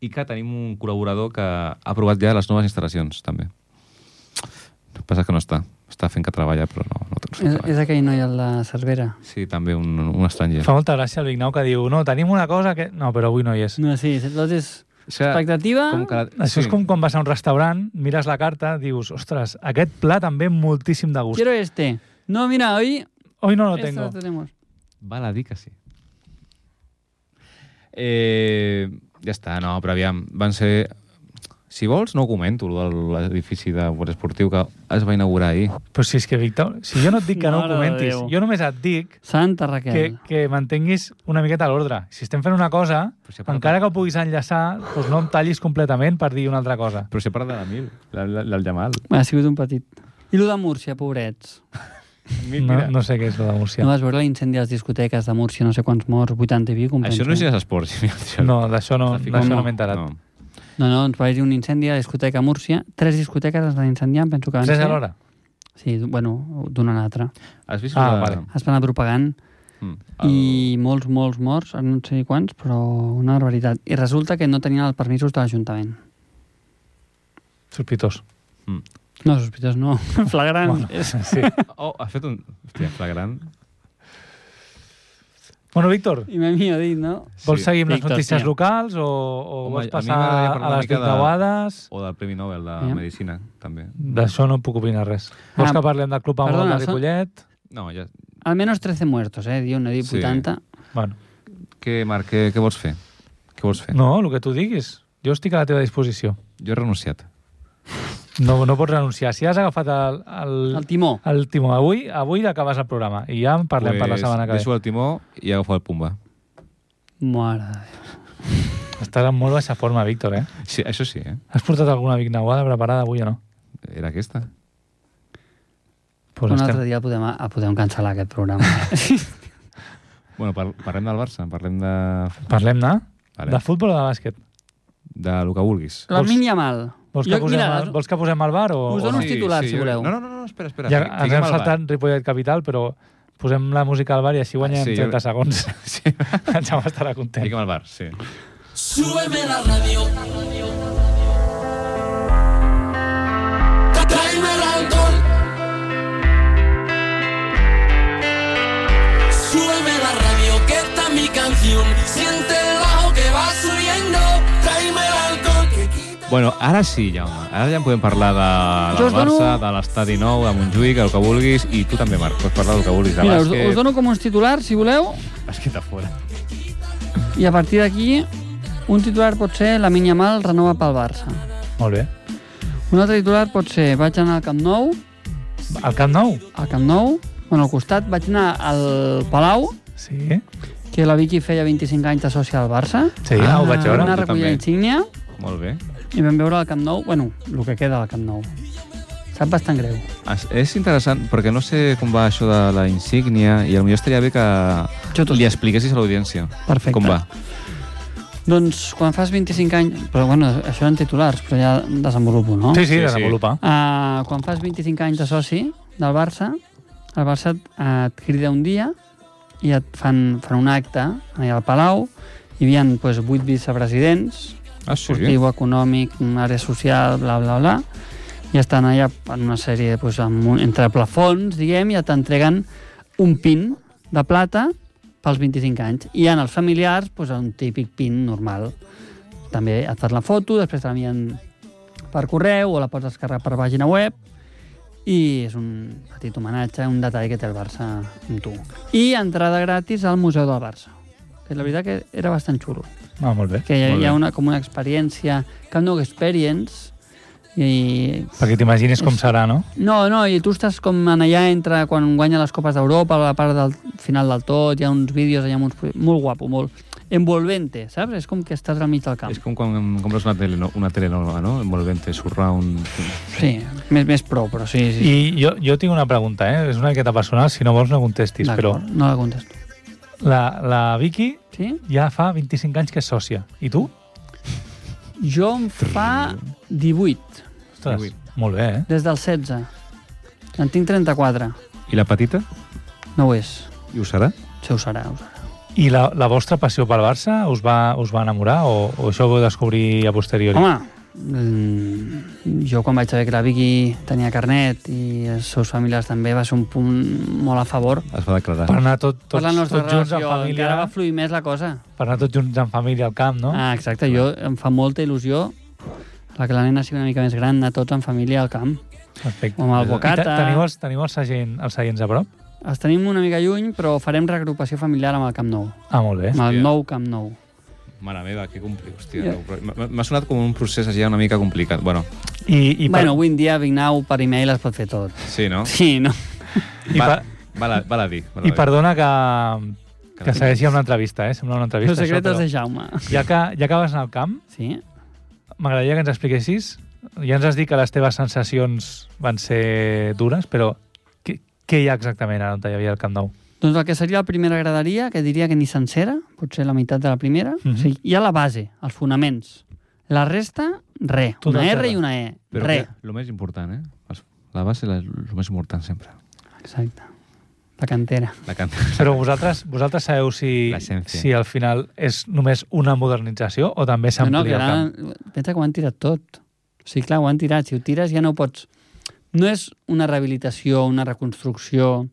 I que tenim un col·laborador que ha aprovat ja les noves instal·lacions, també. El que passa és que no està. Està fent que treballa, però no, no, no
És,
treballa.
és aquell noi, el de Cervera.
Sí, també un, un estranger.
Fa molta gràcia el Vignau que diu no, tenim una cosa que... No, però avui no hi és.
No, sí, entonces...
O sigui,
Expectativa...
com que la...
Això és com quan vas a un restaurant, mires la carta, dius, ostres, aquest plat em ve moltíssim de gust.
Quiero este. No, mira, hoy...
Hoy no lo
esto
tengo.
lo tenemos.
Val a dir que sí. Eh, ja està, no, però aviam, van ser... Si vols, no ho comento, lo de l'edifici de esportiu que es va inaugurar ahir.
Però si és que, Víctor, si jo no et dic que no ho
Mare de
comentis,
Déu.
jo només et dic
Santa Raquel.
que, que mantinguis una miqueta l'ordre. Si estem fent una cosa,
Però si ha parlat-
encara que ho puguis enllaçar, doncs no em tallis completament per dir una altra cosa.
Però si parla de la Mil, la- la- del Jamal.
Ha sigut un petit... I el de Múrcia, pobrets.
Mil,
No,
mira.
no sé què és la de
Ja. No
Múrcia.
vas veure l'incendi a les discoteques de Múrcia, no sé quants morts, 80 i pico, em
Això
penso.
no és esports.
No, d'això no,
Està
d'això
ficant-
no m'he enterat.
No.
No, no, ens va haver un incendi a la discoteca a Múrcia. Tres discoteques es van incendiar, em penso que van
Tres
ser...
a l'hora.
Sí, d- bueno, d'una a l'altra.
Has vist
Ah,
la-
vale.
Es van anar propagant
Mm,
el... i molts, molts morts, ara no sé quants, però una barbaritat. I resulta que no tenien els permisos de l'Ajuntament.
Sospitós.
No, sospitós,
*laughs*
no. Flagrant. *laughs* Bueno.
Sí.
Mm. Oh, has fet un... Hòstia, flagrant.
Bueno, Víctor,
I m'hem ja dit, no?
vols seguir amb les
Víctor,
notícies
tia.
locals o, o
Home,
vols
a mi
passar
m'agradaria
a,
parlar una
les
mica de-
desdavades?
O del Premi Nobel de
Ja.
Medicina, també.
D'això no puc opinar res. Vols
Ah,
que parlem del Club Amor
perdona,
de
són-
Ripollet?
No, ja...
Almenys 13 muertos, eh? Diu, no diu
Sí.
80.
Bueno,
Què, Marc, què, què vols fer? Què vols fer?
no, el que tu diguis. Jo estic a la teva disposició.
Jo he renunciat.
No, no pots renunciar. Si has agafat el, el,
El timó.
el timó avui, avui acabes el programa i ja en parlem pues, per la setmana que
Deixo
ve.
el timó i agafo el pumba.
Mare de Déu.
Estàs en molt baixa forma, Víctor, eh?
Sí, això sí, eh?
Has portat alguna vignauada preparada avui o no?
Era aquesta.
Pues
un
estem...
altre dia el podem, el podem cancel·lar aquest
*laughs*
programa.
Bueno, par parlem del Barça, parlem de...
Parlem de,
Vale.
eh? de futbol o de bàsquet?
De lo que vulguis.
La
Vols-
mínia mal.
Vols que, posem,
mira,
el, vols que posem el bar o...
us
o
dono
no?
uns titulars, si
jo-
voleu.
No, no, no, no, espera, espera.
Ja
Fi-
ens
fiquem
hem
al bar.
saltat Ripollet Capital, però posem la música al bar i així guanyem
Ah, sí, jo-
30 segons.
*laughs*
*laughs*
Sí,
El Jaume estarà content.
fiquem al bar, sí.
Súbeme la radio. Tráeme el alcohol. Súbeme la radio, que esta es mi canción. Siente el bajo que va subiendo. Tráeme el alcohol. Que quita...
Bueno, ara sí, Jaume. Ara ja en podem parlar de,
Jo us
del
dono-
Barça, de l'Estadi Nou, de Montjuïc, el que vulguis, i tu també, Marc, pots parlar del que vulguis, de
Mira, us,
bàsquet,
us dono com uns titulars, si voleu,
bàsquet a fora.
i a partir d'aquí un titular pot ser la mínia mal renova pel Barça.
Molt bé.
Un altre titular pot ser vaig anar al Camp Nou,
Al Camp Nou?
al Camp Nou, bueno, al costat, vaig anar al Palau,
Sí.
que la Vicky feia 25 anys de sòcia al Barça.
Sí, ah, ho vaig
veure.
Vam anar a
Jo
recollir
també.
la insígnia
Molt bé.
i vam veure al Camp Nou, bueno, el que queda al Camp Nou. Sap bastant greu.
Es, és interessant, perquè no sé com va això de la insígnia, i potser estaria bé que
Jo tot.
li expliquessis a l'audiència
Perfecte.
com va.
Doncs quan fas 25 anys... Però bueno, això eren titulars, però ja desenvolupo, no?
Sí, sí,
Sí, sí.
desenvolupa.
Uh, quan fas 25 anys de soci del Barça, el Barça et, eh, et crida un dia i et fan, fan un acte allà al Palau. Hi havia pues, 8 vicepresidents,
Ah, sí?
esportiu, econòmic, àrea social, bla, bla, bla. I estan allà en una sèrie pues, amb un, entre plafons, diguem, i t'entreguen un pin de plata pels 25 anys. I en els familiars, pues, un típic pin normal. També et fas la foto, després te l'envien per correu o la pots descarregar per pàgina web i és un petit homenatge, un detall que té el Barça amb tu. I entrada gratis al Museu del Barça. Que la veritat que era bastant xulo
Ah, molt bé.
que hi ha,
Molt
hi
bé.
ha una, com una experiència, Camp Nou Experience, i...
Perquè t'imagines com serà, no?
No, no, i tu estàs com en allà entre quan guanya les Copes d'Europa, a la part del final del tot, hi ha uns vídeos allà amb uns... Molt guapo, molt envolvente, saps? És com que estàs al mig del camp.
És com quan compres una, tele, una telenova, no? Envolvente, surround...
Sí, més, més pro, però sí, sí.
I jo, jo tinc una pregunta, eh? És una miqueta personal, si no vols no contestis, però
D'acord, No la contesto.
la, la Vicky
Sí?
ja fa 25 anys que és sòcia. I tu?
Jo em fa 18,
Ostres,
18.
molt bé, eh?
des del 16. En tinc 34.
I la petita?
No ho és.
I ho serà?
Sí, ho serà, ho serà.
I la, la vostra passió pel Barça us va, us va enamorar o, o això ho vau descobrir a posteriori?
Home, mm, jo quan vaig saber que la Vicky tenia carnet i els seus familiars també va ser un punt molt a favor
Es va declarar.
Per anar tot, tots,
per la
tots
nostra
junts en
relació,
família,
encara va fluir més la cosa.
per anar tots junts en família al camp, no?
Ah, exacte, jo em fa molta il·lusió la que la nena sigui una mica més gran, anar tots en família al camp,
Perfecte.
o amb el
I te-
bocata...
Teniu els, teniu els, seient, els seients a prop?
Els tenim una mica lluny, però farem reagrupació familiar amb el Camp Nou,
Ah, molt bé.
amb el
Hòstia.
nou Camp Nou.
Mare meva, que compli, hòstia.
Ja.
no, però m'ha- M'ha sonat com un procés ja una mica complicat. Bueno,
I, i, per,
Bueno, avui en dia Vignau per e-mail es pot fer tot.
sí, no?
Sí, no?
i, per,
Val a, val a dir. Val a
i
dir.
perdona que, que
Que-
segueixi amb l'entrevista, eh? Sembla una entrevista,
Els secretos
això,
de Jaume.
però... Ja que, ja que vas anar al camp,
Sí?
m'agradaria que ens expliquessis, ja ens has dit que les teves sensacions van ser dures, però què, què hi ha exactament ara on hi havia el Camp Nou?
Doncs el que seria la primera graderia, que diria que ni sencera, potser la meitat de la primera. Mm
Mhm.
-hmm. o sigui, hi ha la base, els fonaments. La resta, re.
Tot
una
el
R
terra.
i una E.
Però
re.
que lo més important, eh? Es- La base és el més important sempre.
Exacte. La cantera.
La canta.
Però vosaltres, vosaltres sabeu si,
L'essència.
si al final és només una modernització o també
no, que
s'amplia
ara,
no, el camp.
pensa que ho han tirat tot. O sigui, clar, ho han tirat. Si ho tires ja no pots... No és una rehabilitació, una reconstrucció...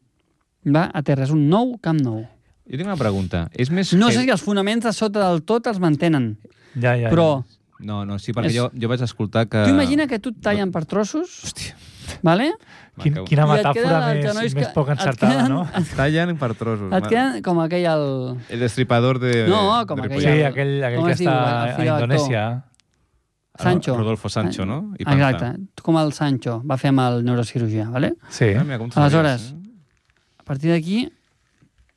Va, a terra, és un nou camp nou.
*laughs* Jo tinc una pregunta. És més
No
que-
sé si els fonaments de sota del tot els mantenen,
Eh. Ja, ja, ja.
però
No, no, sí, perquè
És-
jo, jo vaig escoltar que...
tu imagina que tu et tallen per trossos,
Hòstia,
vale?
Quin,
m'acabo.
quina
I et
metàfora
queden els
més,
genolls
més
que-
poc
et
encertada,
queden-
no?
Tallen per trossos.
Et
man.
queden com aquell... El...
El destripador de...
No, com
de
aquella-
Sí,
Ripollet.
el-
aquell, aquell
com
que
es diu,
està
el
a
fill de l'actor?
Indonèsia.
Sancho. Ah,
Rodolfo Sancho, no?
I
Panza.
Exacte, com el Sancho va fer amb el neurocirurgià, vale?
Sí.
Ah, mira, com sabies,
Aleshores,
eh?
a partir d'aquí,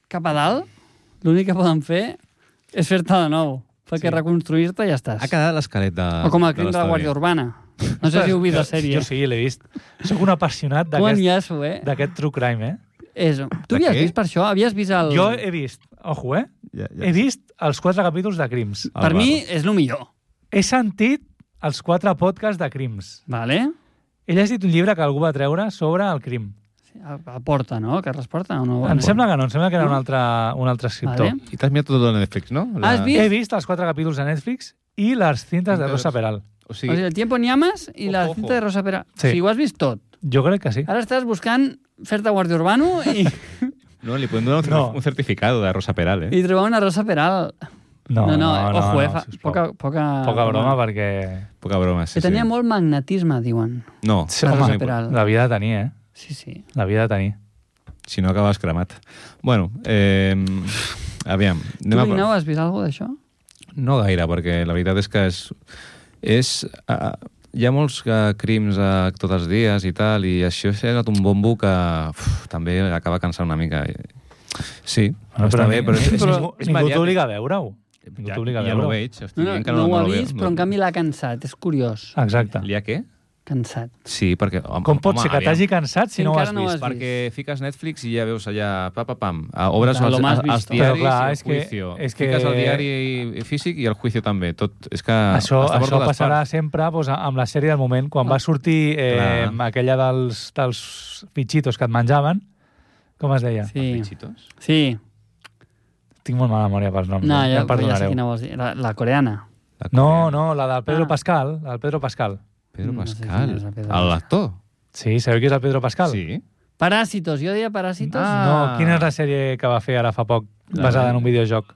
cap a dalt, l'únic que poden fer és fer-te de nou, perquè
Sí.
reconstruir-te ja estàs.
Ha quedat l'esquelet de...
o com el crim de, la
l'estadi.
Guàrdia Urbana. No sé si heu vist la sèrie.
Jo sí, l'he vist. Sóc un apassionat
Com
d'aquest
enllaço, eh?
d'aquest true crime, eh?
És... Tu
De
havies
què?
vist per això? Havies vist el...
Jo he vist, ojo, eh?
Ja,
He vist els quatre capítols de crims.
El
Per
barro.
mi és el millor,
He sentit els quatre podcasts de crims.
vale?
He llegit un llibre que algú va treure sobre el crim.
El, el Porta, no? Que resporta o no?
Em sembla que no, em sembla que era un altre, un altre escriptor.
Vale.
I t'has mirat tot el Netflix, no?
Has vist?
He vist els quatre capítols de Netflix i les cintes de Rosa Peral.
O
O sigui,
sigui,
el tiempo ni amas i
Ojo,
la
ojo.
cinta de Rosa Pera.
Sí.
O sigui, ho has vist tot.
Jo crec que sí.
Ah,
Ara estàs buscant fer-te guàrdia urbano i,
no, li podem donar un,
No.
no. un certificado de Rosa Peral, eh?
i trobar una Rosa Peral.
No, no, no, no,
ojo, eh,
no
fa,
sisplau.
poca, poca...
Ah,
Poca broma perquè...
Poca broma, sí,
que tenia
sí.
molt magnetisme, diuen.
No,
Sí,
la
home,
Rosa
no hi pot-
Peral.
L'havia de tenir, eh?
Sí, sí.
L'havia de tenir.
Si no, acabes cremat. Bueno, eh, aviam.
Tu,
a-
Guineu, has vist alguna d'això?
No gaire, perquè la veritat és que és... és uh, hi ha molts uh, crims uh, tots els dies i tal, i això s'ha anat un bombo que uf, també acaba cansant una mica. Sí,
Bueno,
està bé, però...
ni-
És,
ningú,
és
ningú
mediàtic.
t'obliga a veure-ho. Ningú
Ja,
t'obliga a
ja ho
veure-ho.
veig, estic
No, no,
dient que
no, ho
no
ha
lo veu,
vist, però en canvi l'ha cansat. És curiós.
Exacte.
Li ha què?
Cansat.
Sí, perquè... Home,
Com pot
home,
ser que
aviam.
t'hagi cansat si
Si
no ho
encara
has
no ho
vist?
has
Perquè fiques Netflix i ja veus allà, pa, pa, pam, a obres
Clar,
als,
lo más
als, als
visto.
Però
diaris
clar,
i el
és que-
juicio.
és que-
Fiques el diari físic i el juicio també. Tot, és que
Això,
està per
això
totes
passarà
parts.
sempre doncs, amb la sèrie del moment, quan va sortir eh,
Clar.
aquella dels, dels pitxitos que et menjaven, com es deia? Sí.
Sí.
Pichitos.
Sí.
Tinc molt mala memòria pels noms,
No,
eh? em
ja, ja sé
perdonareu.
quina vols dir. La, la coreana.
La
No, no, la del Pedro
Ah.
Pascal, la del Pedro Pascal.
Pedro
Mm, No sé
Pascal,
quin és el Pedro Pascal.
l'actor.
Sí, sabeu qui és el Pedro Pascal?
Sí.
Paràsitos. Jo deia paràsitos.
Ah,
No, quina és la sèrie que va fer ara fa poc, basada en un videojoc?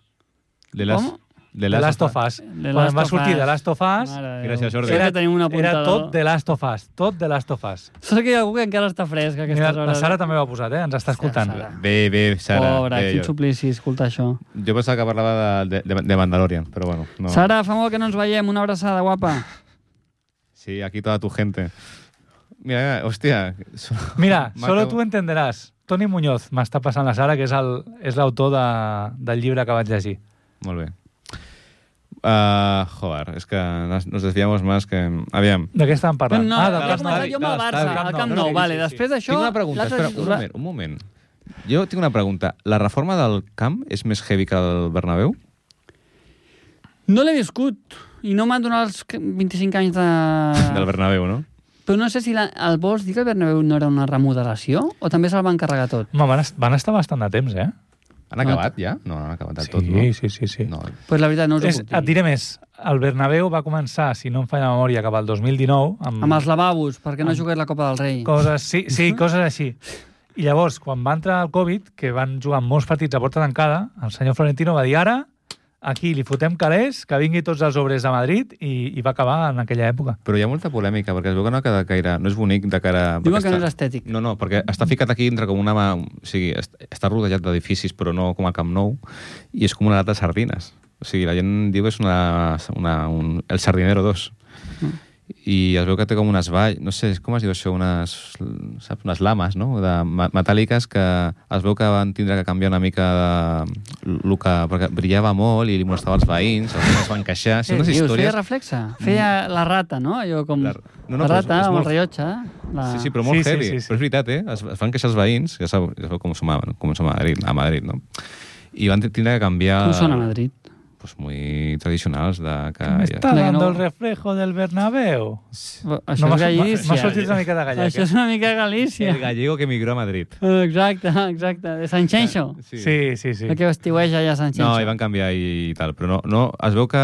De
Com?
De
The Last of Us. Quan va sortir The Last of Us,
Gràcies, Jordi.
Era, tenim un
era
apuntador.
tot The Last of Us, tot The Last of Us.
Saps que hi ha algú que encara està fresc a aquestes
Mira,
hores?
la Sara també ho ha posat, eh? Ens està escoltant.
Sara.
Bé, bé, Sara.
Pobra,
bé,
quin
jo,
suplici escoltar això.
jo pensava que parlava de, de, de Mandalorian, però bueno. No.
Sara, fa molt que no ens veiem. Una abraçada, guapa.
Sí, aquí toda tu gente. Mira, hòstia.
Mira,
Maca-
solo tú entenderás. Toni Muñoz m'està passant la Sara, que és el- és l'autor de, del llibre que vaig llegir.
*laughs* Molt bé. Uh, joder, és que nos nos desviamos más que... Aviam.
Ah, De què estàvem parlant?
No,
del
he
Camp
començat
Nou.
jo amb el
del
Barça,
Camp
al
Nou.
Camp
No,
Nou.
sí,
Vale,
sí,
després d'això...
tinc una pregunta,
l'altre
espera, un
titular-
moment, un moment. Jo tinc una pregunta. La reforma del camp és més heavy que el Bernabéu?
No l'he viscut i no m'han donat els que- 25 anys de... Ah.
Del Bernabéu, no?
Però no sé si la, el vols dir que el Bernabéu no era una remodelació o també se'l van carregar tot.
Home, van, es- van estar bastant de temps, eh?
Han acabat ja? No, no han acabat del
sí,
tot, no?
sí, sí, sí.
No,
Pues la veritat no us ho
És,
puc dir.
et diré més, el Bernabéu va començar, si no em falla la memòria, cap al 2019, amb,
Amb els lavabos, perquè no jugués la Copa del Rei.
coses, sí, sí, coses així. I llavors, quan va entrar el Covid, que van jugar molts partits a porta tancada, el senyor Florentino va dir ara, aquí li fotem calés, que vinguin tots els obres de Madrid, i, i va acabar en aquella època.
Però hi ha molta polèmica, perquè es veu que no ha quedat gaire... No és bonic de cara...
Diuen
perquè
que no és
està-
estètic.
No, no, perquè està ficat aquí entre com una... mà- O sigui, est- està rodejat d'edificis, però no com a Camp Nou, i és com una lata de sardines. O sigui, la gent diu que és una, una, un, el sardinero 2.
Mm.
I es veu que té com unes valls, no sé, com es diu això, unes, saps, unes lames, no?, de ma- metàl·liques que es veu que van tindre que canviar una mica de, el que, perquè brillava molt i li molestava els veïns, els veïns es van queixar,
Què
són unes
dius?
històries... Mm.
Feia reflexa. Feia la rata, no? Allò com...
La-
La,
no, no, però és-
rata
és
amb
molt-
el rellotge. La...
Sí, sí, però molt
Sí, sí,
heavy.
sí, sí.
Però és veritat, eh? Es, es van queixar els veïns, ja sabeu, ja sabeu com som a, com som a Madrid, a Madrid, no? I van tindre que canviar...
Com sona Madrid?
pues, muy tradicionals de que...
Me
Ah, ja-
está
La que
dando
no-
el reflejo del Bernabéu.
Això
m'ha
és
sor-
Galícia.
M'ha sortit una mica de gallec. eh?
Això és una mica Galícia.
El gallego que emigró a Madrid.
Exacte, *laughs* exacte. De Sant Xenxo.
eh? Sí, sí, sí.
El que vestiueix allà a Sant Xenxo.
No, i van canviar i, i tal, però no, no, es veu que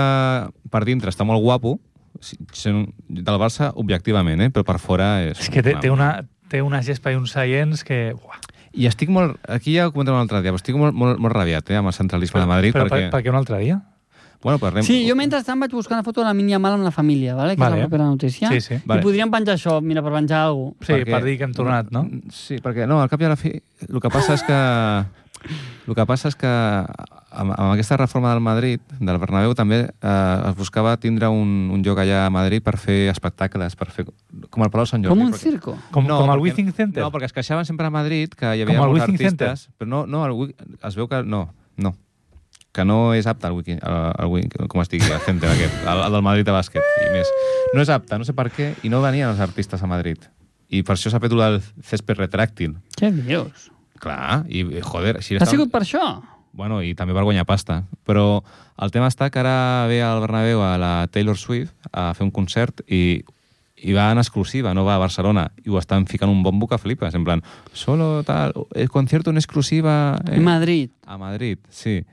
per dintre està molt guapo, si- sent del Barça objectivament, eh? però per fora és...
És que té, té, una, té una gespa i uns seients que... Uah,
I estic molt... Aquí ja ho comentem un altre dia, però estic molt, molt, molt rabiat eh, amb el centralisme de Madrid,
però
perquè...
per, per què un altre dia?
Bueno, parlem...
Sí, jo mentrestant vaig buscar una foto de la Mínia Mal amb la família, vale? que
Vale.
és la propera notícia.
Sí, sí.
I
Vale.
podríem penjar això, mira, per penjar alguna
Sí,
cosa.
Perquè-
per dir que hem tornat, no?
Mm, Sí, perquè no, al cap i a la fi... El que passa és que... El que passa és que amb, amb aquesta reforma del Madrid, del Bernabéu, també eh, es buscava tindre un, un lloc allà a Madrid per fer espectacles, per fer... Com el Palau Sant Jordi.
Com un
perquè-
circo.
Com, no, com el
perquè-
Withing Center.
No, perquè es queixaven sempre a Madrid que hi
Com el
havia molts
Wizzing
artistes, però no, no, el, Wi- es veu que no, no que no és apte el, wiki, el, el, Wi- com es digui, el centre aquest, *laughs* el, el del Madrid de bàsquet i més. No és apte, no sé per què, i no venien els artistes a Madrid. I per això s'ha fet el del césped retràctil.
Què dius?
Clar, i eh, joder... Si
Ha sigut per això?
Bueno, i també per guanyar pasta. Però el tema està que ara ve al Bernabéu a la Taylor Swift a fer un concert i, i va en exclusiva, no va a Barcelona. I ho estan ficant un bombo que flipes, en plan, solo tal, el concierto en exclusiva
I
eh,
Madrid.
a Madrid, sí.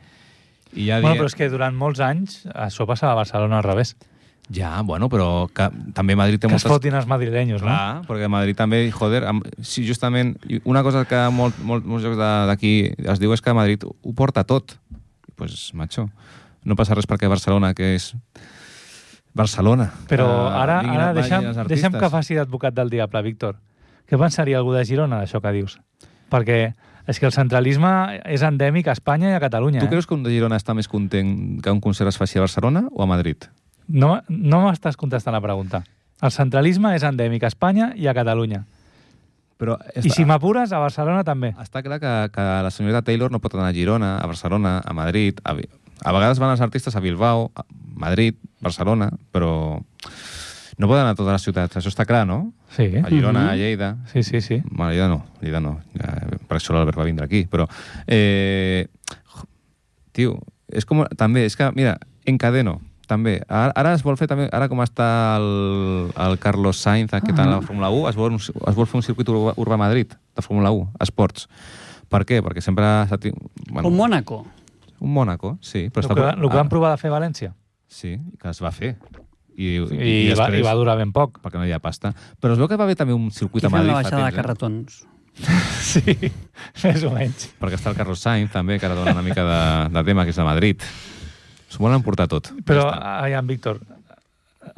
I ja
Bueno,
die-
però és que durant molts anys això passava a Barcelona al revés.
Ja, bueno, però que, també Madrid té
Que es
moltes...
fotin els madrilenyos, no?
Clar, perquè Madrid també, joder, amb, sí, justament, i una cosa que molt, molt, molts jocs de- d'aquí es diu és que Madrid ho porta tot. Doncs, pues, macho, no passa res perquè Barcelona, que és... Barcelona.
Però
Eh,
ara,
vinguin-
ara
vagin
deixa'm,
els artistes.
deixa'm que faci d'advocat del diable, Víctor. Què pensaria algú de Girona d'això que dius? Perquè és que el centralisme és endèmic a Espanya i a Catalunya.
Tu
eh?
creus que un de Girona està més content que un concert es faci a Barcelona o a Madrid?
No, no m'estàs contestant la pregunta. El centralisme és endèmic a Espanya i a Catalunya.
Però
I si m'apures, a Barcelona també.
Està clar que, que la senyoreta Taylor no pot anar a Girona, a Barcelona, a Madrid... A, Bi- a vegades van els artistes a Bilbao, a Madrid, Barcelona, però no poden anar a totes les ciutats, això està clar, no?
Sí, eh?
A Girona,
Mhm.
a Lleida...
sí, sí. sí.
Bueno, Lleida no, Lleida no, ja, per això l'Albert va vindre aquí, però... Eh, jo- tio, és com... També, és que, mira, Encadeno, també. Ara, ara es vol fer també, ara com està el, el Carlos Sainz, aquest ah. en la Fórmula 1, es vol, es vol fer un circuit urbà, urbà a Madrid, de Fórmula 1, esports. Per què? Perquè sempre... s'ha ti- Bueno,
Com Mònaco.
Un Mónaco, sí.
El
Però
que,
està... Ah,
el que van provar de fer a València.
Sí, que es va fer. I,
I, va, I va durar ben
*laughs*
poc.
perquè no hi ha pasta. Però es veu que va haver també un circuit
Aquí
a
fem
Madrid.
la
fa
baixada de
temps, eh?
carretons.
Sí, més o menys.
Perquè està el Carlos Sainz, també, que ara dona una mica de, de tema, que és de Madrid. S'ho volen portar tot.
Però,
Ja
aviam, Víctor,
està.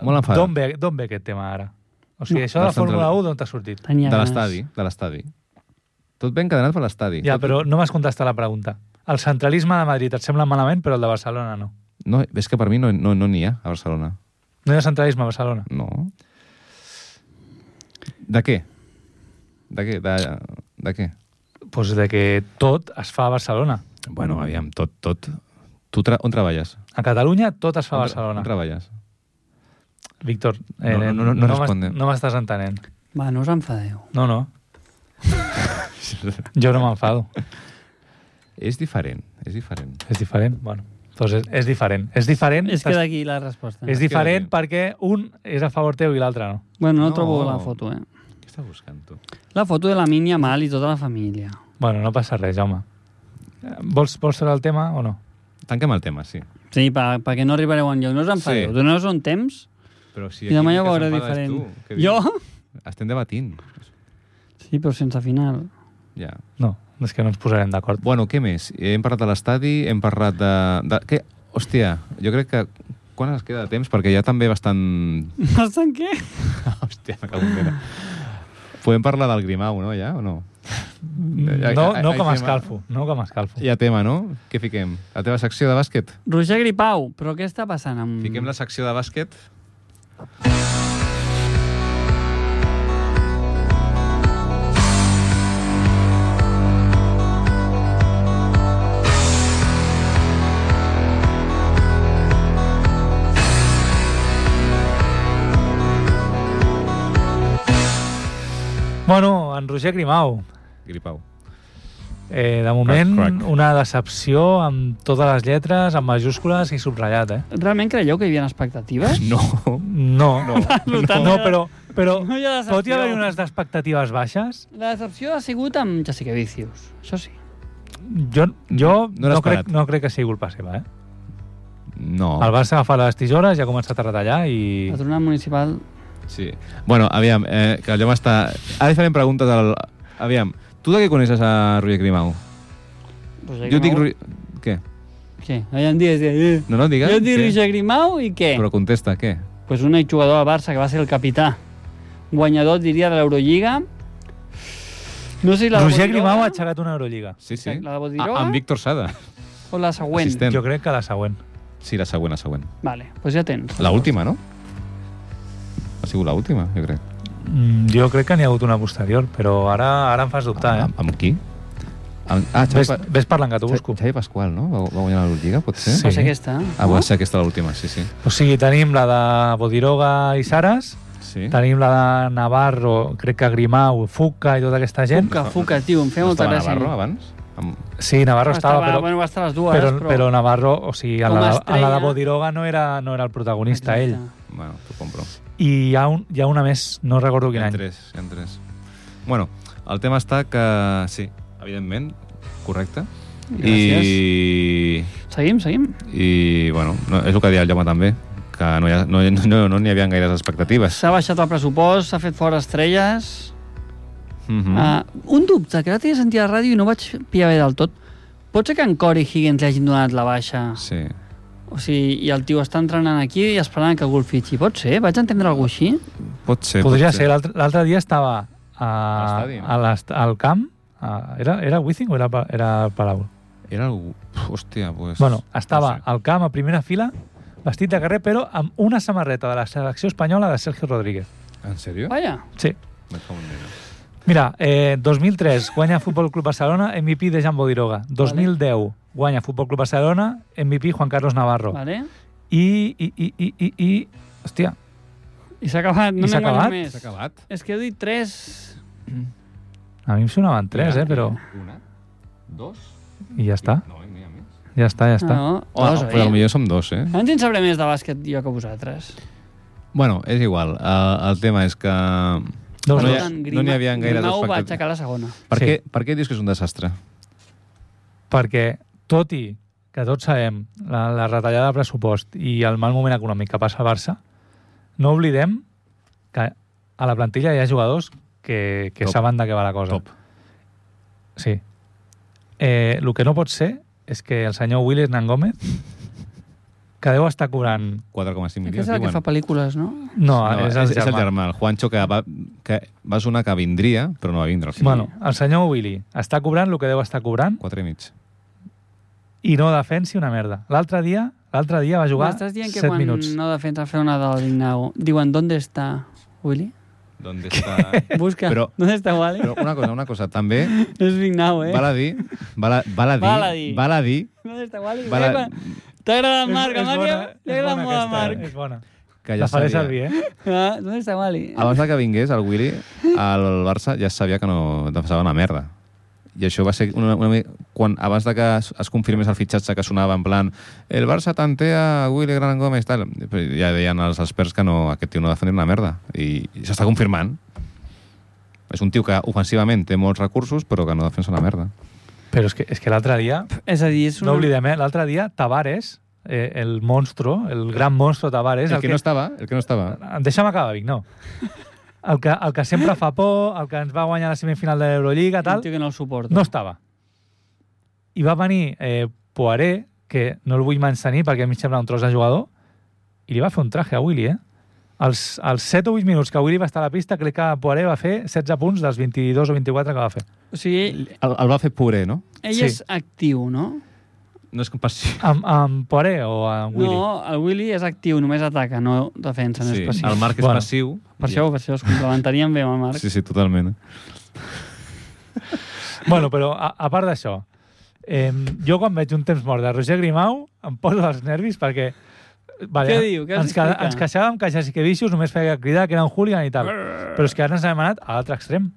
Molt enfadat.
d'on ve, d'on ve aquest tema ara? O sigui, això de
del
la Fórmula
central-
1 d'on t'ha sortit?
Tenia
De
ganes.
l'estadi, de l'estadi. Tot ben cadenat per l'estadi.
Ja, però no m'has contestat la pregunta. El centralisme de Madrid et sembla malament, però el de Barcelona no.
No, és que per mi no n'hi no, no n'hi ha, a Barcelona.
No hi ha centralisme a Barcelona.
No. De què? De què? De, de què?
Doncs pues de que tot es fa a Barcelona.
Bueno, aviam, tot, tot. Tu tra on treballes?
A Catalunya tot es fa a
On
Barcelona. *laughs*
treballes?
Víctor, eh,
No, no, no, no
m'has-
responde.
no m'estàs entenent.
Va, no us enfadeu.
No, no. Jo no m'enfado. *laughs*
És diferent, és diferent.
És diferent. Bueno, doncs és, és diferent. És diferent,
És que d'aquí la resposta.
és
queda
diferent
aquí.
perquè un és a favor teu i l'altre no.
Bueno, no,
No.
trobo la foto, eh?
Què estàs buscant, tu?
La foto de la Mínia Mal i tota la família.
Bueno, no passa res, home. Eh, Vols, vols treure el tema o no?
Tanquem el tema, sí.
Sí, per- perquè no arribareu enlloc. No us enfadeu.
Sí.
Doneu-vos un temps
Però si
i demà ja ho
que
veureu
s'enfades
diferent.
tu, què dius?
jo?
Estem debatint.
Sí, però sense final.
Ja.
No, és que no ens posarem d'acord.
Bueno, què més? Hem parlat de l'estadi, hem parlat de... de què? Hòstia, jo crec que... Quan ens queda de temps? Perquè ja també bastant...
*laughs*
*laughs*
Bastant què?
Hòstia, me cago en Déu. Podem parlar del Grimau, no, ja? O no? ja-
No,
ja-
no
ja
que
hi
m'escalfo, no que m'escalfo.
Hi ha tema, no? Què fiquem? La teva secció de bàsquet?
Roger Gripau, però què està passant amb...
Fiquem la secció de bàsquet?
Bueno, en Roger Grimau,
Gripau.
Eh, de moment,
Crac, crac.
una decepció amb totes les lletres, amb majúscules i subratllat, eh?
Realment creieu que hi havia expectatives?
*laughs* No.
*laughs* No, no, no,
tant,
no
ja-
però, però
No hi ha decepció.
pot hi haver unes d'expectatives baixes?
La decepció ha sigut amb Jessica Vicious, això sí.
Jo, jo
No
no,
l'ha
no, crec,
esperat.
no crec que sigui culpa seva, eh?
No.
El Barça ha agafat les tisores i ha començat a retallar i...
La tornada municipal...
Sí. Bueno, aviam, eh, que allò m'està... Ara li farem preguntes al... Aviam, tu de què coneixes a Roger Grimau?
Roger
Jo dic...
Grimau-
Roger- Què?
Què? Aviam, digues, digues.
No, no, digues.
Jo dic
què?
Roger Grimau i què?
Però contesta, què?
pues un exjugador del Barça que va ser el capità, guanyador, diria, de l'Eurolliga. No sé si la de
Roger
Bodiroga
Grimau ha aixecat una Euroliga.
Sí, sí.
La de Bodiroga?
Ah, amb Víctor Sada.
o la següent.
Assistent. Ten.
Jo crec que la següent.
Sí, la següent, la següent.
Vale, doncs ja tens.
La última, no? Ha sigut la última, jo crec.
Mm, jo crec que n'hi ha hagut una posterior, però ara ara em fas dubtar, eh?
Ah, Amb, amb qui? Amb, ah, Xavi,
Ves,
pa...
ves parlant que t'ho busco.
Xavi Pasqual, no? Va, va guanyar l'Eurolliga, potser?
Sí.
Va ser aquesta. eh?
Ah, va ser aquesta l'última, sí, sí.
O sigui, tenim la de Bodiroga i Saras,
Sí.
tenim la de Navarro, crec que Grimau, Fuca i tota aquesta gent.
Fuca, fuca, tio, em feia
No
molta
estava
gràcia.
Navarro abans? Amb...
Sí, Navarro estava, però,
Bueno, va estar a les dues,
però,
però...
però Navarro, o sigui, a
Com a
la, a la
estrella.
de Bodiroga no era, no era el protagonista, ell.
Exacte.
Bueno, t'ho compro.
I hi ha, un, hi ha una més, no recordo
Hi
quin
ha
any.
tres, hi ha tres. Bueno, el tema està que... Sí, evidentment, correcte. I,
Seguim, seguim.
i bueno, no, és el que deia el Jaume també, que no hi, ha, no, no, no n'hi havia gaires expectatives.
S'ha baixat el pressupost, s'ha fet fora estrelles...
Mm
Mhm.
Mm. Uh, un dubte, que l'altre dia sentia a la ràdio i no vaig pillar bé del tot. Pot ser que en Corey Higgins li hagin donat la baixa?
Sí.
O sigui, i el tio està entrenant aquí i esperant que algú el fitxi. Pot ser? Vaig entendre alguna així?
Pot ser.
Podria
pot
ser, l'altre l'altre dia estava a,
Al estadi.
a l'est- al camp, a, era, era Wizzing o era, pa- era el Palau?
Era algú... Pf, Hòstia, pues...
Bueno, estava
No sé.
al camp a primera fila, vestit de carrer, però amb una samarreta de la selecció espanyola de Sergio Rodríguez.
En sèrio?
Vaja.
Sí.
Me cago en Déu.
Mira, eh, 2003 guanya Futbol Club Barcelona, MVP de Jan Bodiroga. 2010 guanya Futbol Club Barcelona, MVP Juan Carlos Navarro.
Vale.
I, i, i, i, i, i... Hòstia,
I s'ha acabat.
I
No
s'ha
n'hem guanyat
acabat?
més.
S'ha acabat?
És que heu dit tres...
a mi em sonaven tres, eh, però...
Una, dos...
I ja està,
No, no hi ha més.
ja està, ja està.
Ah, No,
Oh,
dos,
no, però
oi?
potser som dos, eh?
Ens en sabré més de bàsquet jo que vosaltres.
Bueno, és igual. Uh, el tema és que...
Dos,
no hi
dos.
ha-
Tant,
no n'hi havia gaires
Grimau va
expectatives.
aixecar la segona.
Per,
Sí.
sí. què, per què dius que és un desastre?
perquè tot i que tots sabem la, la retallada de pressupost i el mal moment econòmic que passa al Barça, no oblidem que a la plantilla hi ha jugadors que, que
Top.
saben de què va la cosa.
Top.
Sí. Eh, el que no pot ser és que el senyor Willis Nan Gómez, que deu estar cobrant...
4,5
Aquest
milions,
és el que
diuen.
fa pel·lícules, no?
No,
No,
Ah, és, el germà.
germà, el Juancho, que va, que va sonar que vindria, però no va vindre. Al final.
Bueno, el senyor Willy està cobrant el que deu estar cobrant
4 i mig.
i no defensi una merda. L'altre dia l'altre dia va jugar
M'estàs dient que
7
quan
minuts.
no defensa fer una del Lignau, diuen, ¿dónde está Willy?
D'on està...
Busca, *laughs*
Però-
¿dónde está Wally?
Però una cosa, una cosa, també,
És Lignau, eh?
val a dir, val a, val a dir,
Val a dir.
val a dir
¿Dónde está Wally?
Val a-
Epa, T'ha agradat
És- és
Marc, a Marc?
bona-
Li
és
agrada
bona
molt a
aquesta,
Marc.
És bona.
que ja
la faré
sabia.
servir, eh?
Ah, ¿Dónde está Wally?
Abans de que vingués el Willy, el Barça ja sabia que no defensava una merda. I això va ser una, una, mi- quan, abans de que es, es confirmés el fitxatge que sonava en plan el Barça tantea a Willy Gran Gómez, tal. Però Ja deien els experts que no, aquest tio no defendia una merda. I, i s'està confirmant. És un tio que ofensivament té molts recursos, però que no defensa una merda.
Però és que, és que l'altre dia,
És a dir, és una...
no oblidem, eh? l'altre dia Tavares, eh, el monstro, el gran monstro Tavares,
el, que, no estava, el que no estava.
Deixa'm acabar, Vic, no. El que, el que sempre fa por, el que ens va guanyar la semifinal de l'Eurolliga,
Un
tal,
tio que no el suporta.
no estava. I va venir eh, Poiré, que no el vull mantenir perquè a mi em sembla un tros de jugador, i li va fer un traje a Willy, eh? Els, els 7 o 8 minuts que Willy va estar a la pista, crec que Poiré va fer 16 punts dels 22 o 24 que va fer.
O sigui,
El, el va fer puré, no?
ell
Sí.
sí. és actiu, no?
No és compassió.
Amb, amb Poiré o amb Willy?
No, el Willy és actiu, només ataca, no defensa, no
Sí,
és passiu.
el Marc és
Bueno.
passiu.
Per això, per això es complementarien bé amb el Marc.
Sí, sí, totalment.
Bueno, però a, a part d'això, eh, jo quan veig un temps mort de Roger Grimau em poso els nervis perquè... Vale,
Què diu? Què has
ens, ca,
d'explicar?
ens queixàvem que Jessica Vicious només feia cridar que era un hooligan i tal. Però és que ara ens hem anat a l'altre extrem.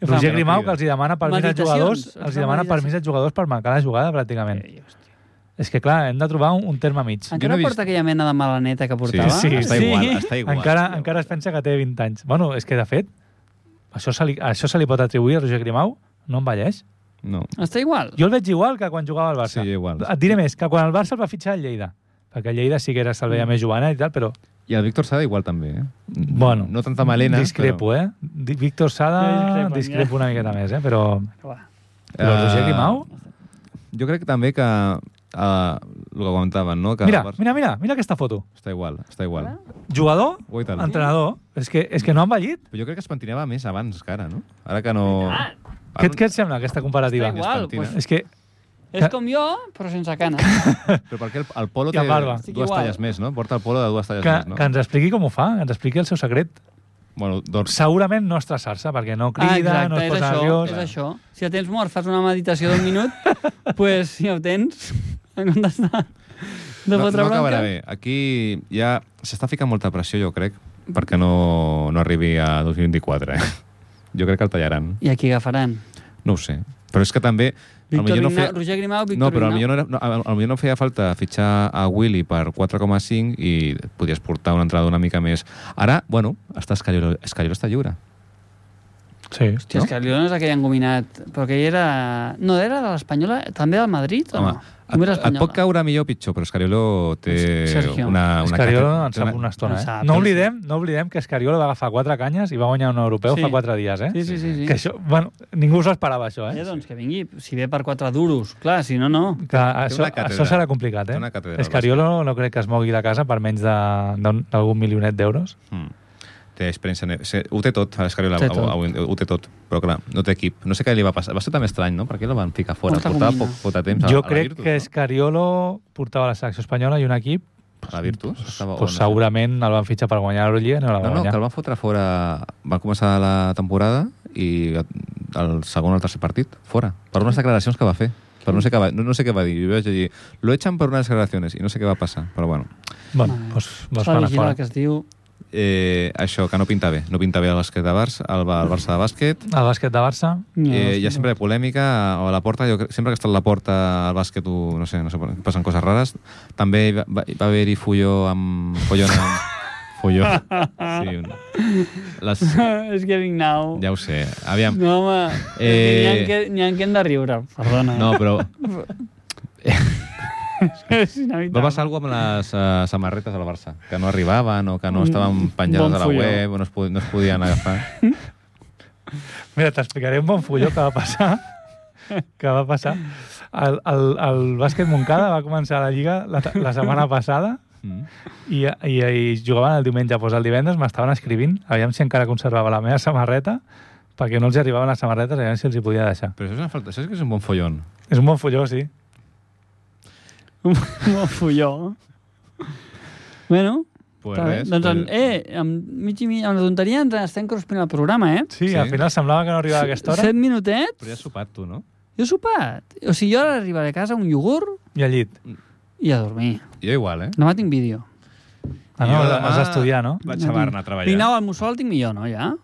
Roger Grimau, que els hi demana permís als
Meditacions,
jugadors,
ens
els
fa
hi demana
meditacions.
permís als jugadors per marcar la jugada, pràcticament.
Eh, hòstia.
És que, clar, hem de trobar un, un terme mig.
Encara
no he
porta aquella mena de malaneta que portava?
Sí, sí.
està igual, està igual.
Encara, encara es pensa que té 20 anys. Bueno, és que, de fet, això se li, això se li pot atribuir a Roger Grimau? No envelleix?
No.
Està igual?
Jo el veig igual que quan jugava al Barça.
Sí, igual.
Et diré més, que quan el Barça el va fitxar el Lleida. Perquè el Lleida sí que era se'l
Mm.
veia més jugant i tal, però...
I el Víctor Sada igual també, eh?
Bueno,
No tanta melena,
discrepo, eh? Di- Víctor Sada,
Jo discrepo,
discrepo una miqueta més, eh? Però,
Va.
però el Roger
Eh,
Grimau...
Jo crec que també que... Uh, el que comentaven, no? Que
Mira,
el Barça-
mira, mira, mira aquesta foto.
Està igual, està igual.
Jugador,
Ui, tant.
entrenador... És que, és que no ha envellit.
Però jo crec que es pentinava més abans que ara, no? Ara que no...
Ah,
Ara
Què,
no-
et- què et sembla, aquesta comparativa?
Està igual,
Espantina.
pues,
És que
és com jo, però sense cana.
Però perquè el, el polo
I
té
a barba.
dues
Estic igual.
talles més, no? Porta el polo de dues talles
que,
més, no?
que ens expliqui com ho fa, que ens expliqui el seu secret.
Bueno, doncs...
Segurament no estressar-se, perquè no *laughs* crida,
Ah, exacte,
no es
és
posa
això,
nerviós...
és això. Si el tens mort, fas una meditació d'un
*laughs*
minut, pues, si el tens, *laughs* en comptes de, de
No, no
fotre bronca...
acabarà bé. Aquí ja s'està ficant molta pressió, jo crec, perquè no, no arribi a 2024, eh? Jo crec que el tallaran.
I aquí agafaran.
No ho sé. Però és que també...
Víctor
potser
no
no feia-
Roger Grimau,
no,
Víctor
però
Vignau.
potser no, era, no, a- a- potser no feia falta fitxar a Willy per 4,5 i podies portar una entrada una mica més. Ara, bueno, està Escallero, Escallero està lliure.
Sí.
Hòstia, és que Lió no és aquell engominat, però que era... No, era de l'Espanyola, també del Madrid, o no? Només
et, et
l'Espanyola.
pot caure millor o pitjor, però Escariolo té
Sergio.
Ah, una... una
Escariolo
cata-
en sap una estona,
en
eh?
sap,
No
en
oblidem, no oblidem que Escariolo va agafar quatre canyes i va guanyar un europeu
Sí.
fa quatre dies, eh?
Sí, sí, sí. sí.
Que això, bueno, ningú s'ho esperava, això,
Eh,
eh?
doncs que vingui, si ve per quatre duros, clar, si no, no.
Que això,
una càtedra.
això serà complicat,
Té
eh?
una càtedra,
Escariolo no crec que es mogui la casa per menys de- d'un- d'algun milionet d'euros.
Mm. Té experiència... ne- se- Ho té tot, l'Escariolo.
Té
Ho,
tot.
ho, ho té tot, però clar, no té equip. No sé què li va passar. Va ser també estrany, no? Perquè el van ficar fora.
Porta
Portava
gomina.
poc, poc de temps a,
jo
a la
crec
Virtus,
que
no?
Escariolo portava la selecció espanyola i un equip,
A la Virtus? Estava,
pues,
on? eh?
segurament el van fitxar per guanyar l'Eurolliga i no la va
No, no, que
guanyar.
el van fotre fora... Va començar la temporada i el segon o el tercer partit, fora. Per unes declaracions que va fer. Però no sé què va, no, no sé què va dir. Jo vaig dir, lo echan per unes declaracions i no sé què va passar, però bueno.
Bueno,
Vale.
pues,
S'ha
pues
de
van a
vigilar
fora.
el que es diu...
Eh, això, que no pinta bé. No pinta bé el bàsquet de Barça, el, Ba- el Barça de bàsquet.
El bàsquet de Barça,
No,
Eh, hi ha
sí.
sempre polèmica, o a la porta, jo crec, sempre que està a la porta al bàsquet, ho- no sé, no sé, passen coses rares. També va, va va haver-hi Fulló amb... Follona
*laughs*
amb... Fulló. Sí, un... Les...
*laughs* és que Vignau...
Ja ho sé. Aviam,
No, home, eh...
Eh.
n'hi ha, que, n'hi ha que hem de riure, perdona.
No, però
eh? *laughs* és inevitable.
va passar alguna cosa amb les uh, samarretes del Barça, que no arribaven o que no estaven penjades
Mm, bon
a la
fulló.
web o no es, pod no es podien
*laughs*
agafar.
Mira, t'explicaré un bon fulló que va
*laughs*
passar. que va passar. El, el, el bàsquet Moncada va començar la Lliga la, ta- la setmana passada
Mm.
i, i, i jugaven el diumenge. Doncs el divendres m'estaven escrivint, aviam si encara conservava la meva samarreta, perquè no els hi arribaven les samarretes, aviam si els hi podia deixar.
Però això és una falta, això és que és un bon follon.
És un bon fulló, sí.
Molt fulló. Bueno,
Pues
està bé.
res,
doncs,
pues-
eh, amb, mig i mig, amb la tonteria ens estem cruspint el programa, eh?
Sí,
Sí.
sí, al final semblava que no arribava a aquesta hora.
Set minutets?
Però ja has sopat tu, no?
Jo he sopat. O sigui, jo ara arribaré a casa un iogurt
I al llit.
i a dormir.
Jo igual, eh?
Demà tinc vídeo.
Ah,
I
no,
jo
has,
demà
has d'estudiar, no?
Vaig a Barna a treballar.
Vignau, el mussol el tinc millor, no, ja?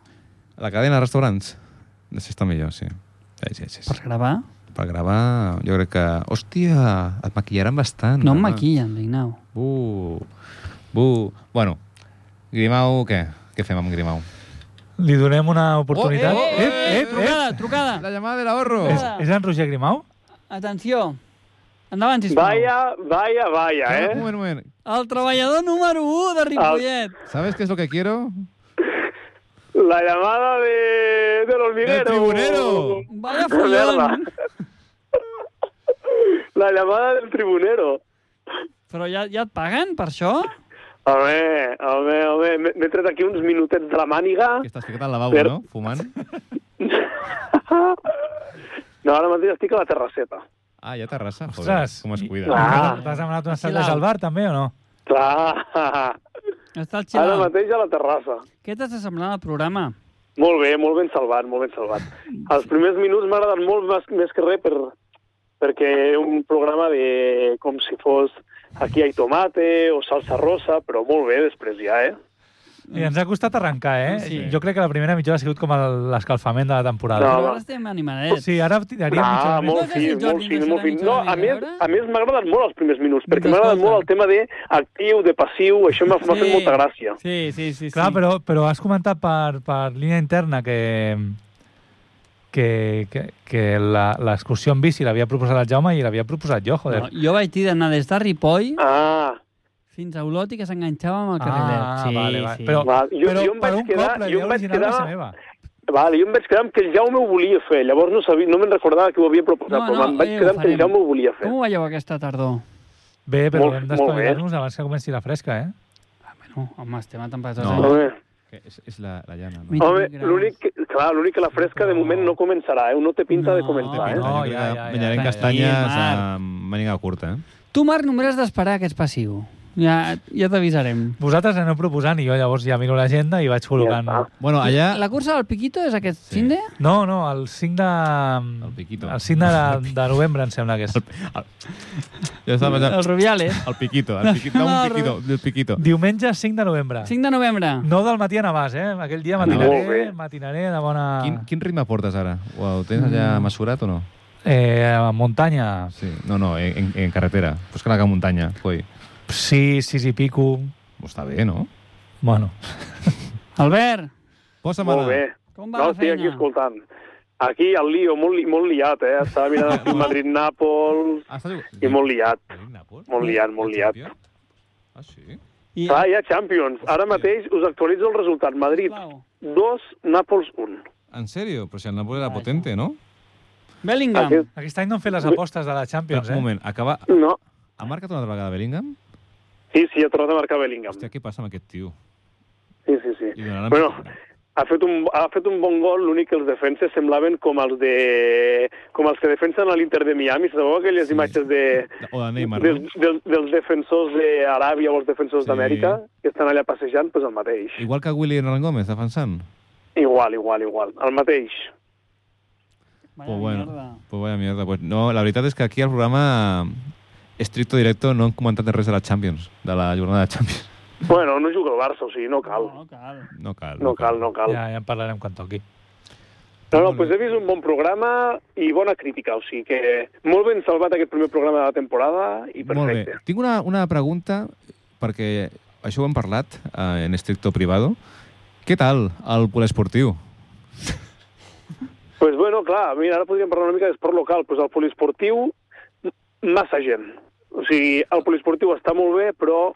La cadena de restaurants? Sí, està millor, sí. Sí, sí, sí,
Per
sí.
gravar.
Per gravar, jo crec que... Hòstia, et maquillaran bastant. eh?
No em
demà.
maquillen, Vignau.
Bu, bu... Bueno, Grimau, què? Què fem amb Grimau?
Li donem una oportunitat.
Oh, eh, eh,
ep, ep,
Trucada, trucada.
La llamada de l'ahorro! Ah.
És, és en Roger Grimau?
Atenció. Endavant, sisplau.
Vaya, vaya, vaya,
Un
¿eh?
moment, un moment.
El treballador número 1 de Ripollet.
¿Sabes qué es lo que quiero?
La llamada de, del hormiguero.
¡Del tribunero!
Vaya
Merda.
follón.
La llamada del tribunero.
Però ja, ja et paguen per això?
Home, home, home, m'he- m'he tret aquí uns minutets de la màniga. *laughs*
Que estàs ficat al lavabo,
Però-
no? Fumant.
No, ara mateix estic a la terrasseta.
Ah, hi ha terrassa. Joder,
Ostres!
com es cuida.
Ah.
T'has demanat unes cerveses al bar, també, o no?
Clar,
Està el
ara
xilal.
mateix a la terrassa.
Què t'està semblant el programa?
Molt bé, molt ben salvat, molt ben salvat. Els primers minuts m'agraden molt més, més que res per, perquè era un programa de com si fos aquí hi ha tomate o salsa rosa, però molt bé després ja, eh?
I ens ha costat arrencar, eh?
Sí.
Jo crec que la primera mitja hora ha sigut com el- l'escalfament de la temporada.
No.
Però ara estem animadets.
Sí, ara tiraríem
Ah,
mitja hora.
molt
No
fi,
has dit
molt
Jordi,
fi,
no
molt fi.
serà mitja
No,
hora
a
ni
més,
hora?
a més m'ha agradat molt els primers minuts, perquè
Doncs
m'ha agradat molt el
escolta.
tema de actiu, de passiu, això m'ha m'ha fet molta gràcia.
Sí, sí, sí.
Clar,
sí.
però, però has comentat per, per línia interna que que, que, que la- l'excursió en bici l'havia proposat el Jaume i l'havia proposat jo, joder.
No, jo vaig dir d'anar des de Ripoll
Ah,
fins a Olot i que s'enganxava amb el carrilet.
Ah,
sí,
vale, vale.
Sí.
Però-
va, jo,
però
jo
per
em vaig
un
quedar...
cop la
Jo
idea
em vaig
original va
quedar...
ser meva.
Vale, jo em vaig quedar amb que el Jaume ho volia fer, llavors no, sabia, no me'n recordava que ho havia proposat,
No,
però
no,
em vaig
eh, ho
quedar amb que el
farem.
Jaume ho volia fer.
Com ho veieu aquesta tardor?
Bé, però
Molt-
hem
molt bé.
d'espavilar-nos abans que comenci la fresca, eh?
Ah, bueno, home, estem a temperatures...
No.
de-
Home,
Que És, és la, la llana, no?
Mira,
home
28 graus.
l'únic que, clar, l'únic que la fresca de moment no començarà, eh? No té pinta de
No,
començar, eh?
no.
Jo crec
Oh, ja,
que
ja, ja.
menjarem
Tranquil,
castanyes
Marc.
amb màniga curta, eh?
Tu, Marc, només has d'esperar aquest passiu. Ja, ja t'avisarem.
Vosaltres aneu proposant i jo llavors ja miro l'agenda i vaig col·locant...
Ja està.
Bueno, allà...
La cursa del Piquito és aquest
Sí.
sí. finde?
No, no, el 5 de... mm,
El Piquito.
El 5 de, de novembre, em sembla que és.
*laughs* Jo estava
El
pensant...
Rubiales.
El piquito, el piquito, no, un piquito, el piquito.
Diumenge 5 de novembre.
5 de novembre.
No del matí a Navàs, eh? Aquell dia
Molt
matinaré,
bé.
matinaré de bona...
Quin, quin ritme portes ara? Ho ho tens allà mesurat o no?
Eh, a muntanya,
Sí. No, no, en, en carretera. Pues que la que muntanya, coi.
6, 6 i pico...
Està bé, Pues no?
Bueno,
Albert,
Posa'm
Molt bé.
com va
No,
la
estic
feina?
aquí escoltant. Aquí el lío, molt, li, molt liat, eh? Estava mirant aquí Madrid-Nàpols
Ah, està jugant-
i molt liat.
Nàpols?
Molt liat, molt liat.
¿este Ah, sí?
I,
Clar, hi ha Champions. Ara mateix us actualitzo el resultat. Madrid
sisplau,
2, Nàpols 1.
En sèrio? Però si el Nàpols era
Ah,
potente, no?
Bellingham.
Aquest-
aquest any no han fet les apostes de la
Però,
Champions,
un
eh?
moment, acaba...
No,
Ha marcat una altra vegada Bellingham?
sí, sí, ha tornat a marcar Bellingham.
Hòstia, què passa amb aquest tio?
Sí, sí, sí.
Li donaran...
Bueno, ha fet un, ha fet un bon gol, l'únic que els defenses semblaven com els, de, com els que defensen a l'Inter de Miami. Sabeu aquelles
Sí.
imatges de,
O de Neymar,
dels,
no?
dels, dels defensors d'Aràbia o els defensors
Sí.
d'Amèrica que estan allà passejant? Doncs el mateix.
Igual que Willy Hernán Gómez, defensant.
Igual, igual, igual. El mateix.
Vaya
Pues bueno,
mierda.
pues vaya mierda. Pues no, la veritat és que aquí al programa estricto directo no han comentat res de la Champions, de la jornada de Champions. *laughs*
Bueno, no juga el Barça, o sigui, no cal.
No, cal.
No cal.
No cal, no cal.
Ja, ja en parlarem quan toqui.
No, no, doncs he vist un bon programa i bona crítica, o sigui que molt ben salvat aquest primer programa de la temporada i
Molt
perfecte.
bé. Tinc una, una pregunta, perquè això ho hem parlat eh, en estricto privado. Què tal el poliesportiu?
Doncs pues bueno, clar, mira, ara podríem parlar una mica d'esport local, però pues el poliesportiu, m- massa gent. O sigui, el poliesportiu està molt bé, però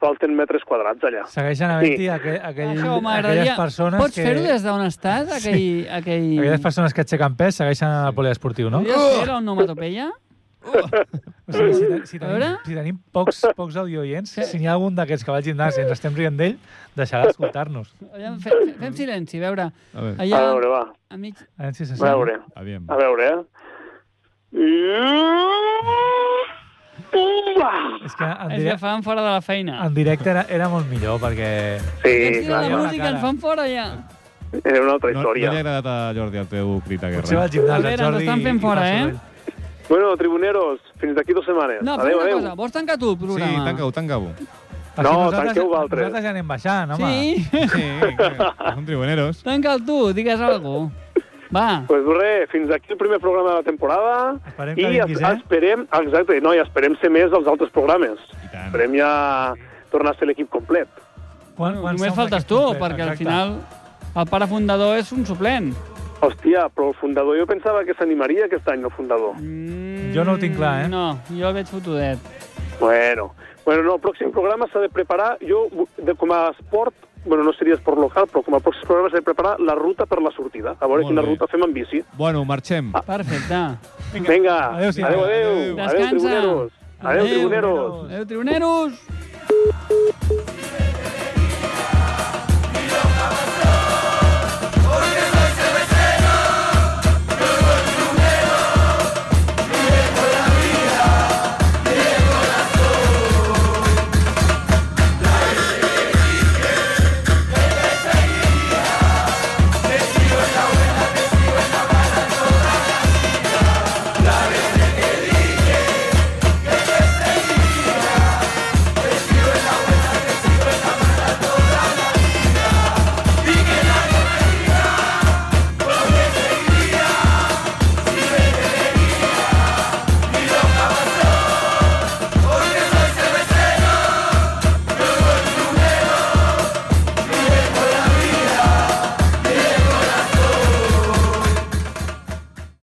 falten metres quadrats allà.
Segueixen havent-hi
Sí.
aquell, aquell,
Això
aquelles
m'agradaria.
persones
Pots
que...
fer-ho des d'on estàs? Aquell, aquell...
Aquelles persones que aixequen pes segueixen en el poliesportiu, no? Oh!
Podries fer-ho en onomatopeia?
O sigui, si, te- si,
A veure?
tenim, si tenim pocs, pocs audioients, si n'hi ha algun d'aquests que va al gimnàs i ens estem rient d'ell, deixarà d'escoltar-nos.
Aviam, fe- fe- Fem silenci, a veure.
A veure,
A
Allà,
veure, va,
a mig...
A veure si se
a
sent.
veure,
aviam.
a veure, eh?
És que en,
Es que
direc
fan fora de la feina.
en directe era, era molt millor, perquè...
Sí,
Ens tira
clar,
la
ja.
música, ens fan fora ja.
era una altra
No, no li
història.
ha agradat a Jordi el teu crit a
Potser va
guerra.
al gimnàs, el
Olera,
Jordi...
ens estan fent
i fa
fora, eh?
soroll.
Bueno, tribuneros, fins d'aquí dues setmanes.
No, fem
adéu,
una
adéu.
cosa, vols tancar tu el
Sí,
programa?
tanca-ho, tanca-ho.
Perquè
No,
nosaltres-
tanqueu vosaltres.
Nosaltres ja anem baixant, home.
Sí? *laughs*
Sí, que són tribuneros.
Tanca'l tu, digues alguna cosa. Va.
Pues res, fins aquí el primer programa de la temporada.
Esperem que
I
vinguis, eh?
esperem, exacte, no, i esperem ser més dels altres programes.
I tant.
Esperem ja tornar a ser l'equip complet.
Quan, quan
Només
som
faltes
d'aquest
tu,
complet,
perquè al
exacte.
final el pare fundador és un suplent.
Hòstia, però el fundador, jo pensava que s'animaria aquest any, el fundador.
Mm,
Jo no ho tinc clar, eh?
No, jo el veig fotudet.
Bueno, bueno no, el pròxim programa s'ha de preparar, jo de, com a esport, bueno, no seria esport local, però com a pròxim programa s'ha de preparar la ruta per la sortida. A veure
Molt
quina
bé.
ruta fem en bici.
Bueno, marxem.
*laughs*
Perfecte.
Vinga, adéu,
Adéu-siau.
adéu, adéu,
Adéu.
adéu,
Descansa.
tribuneros. Adéu,
Adéu,
tribuneros.
tribuneros.
Adéu, tribuneros!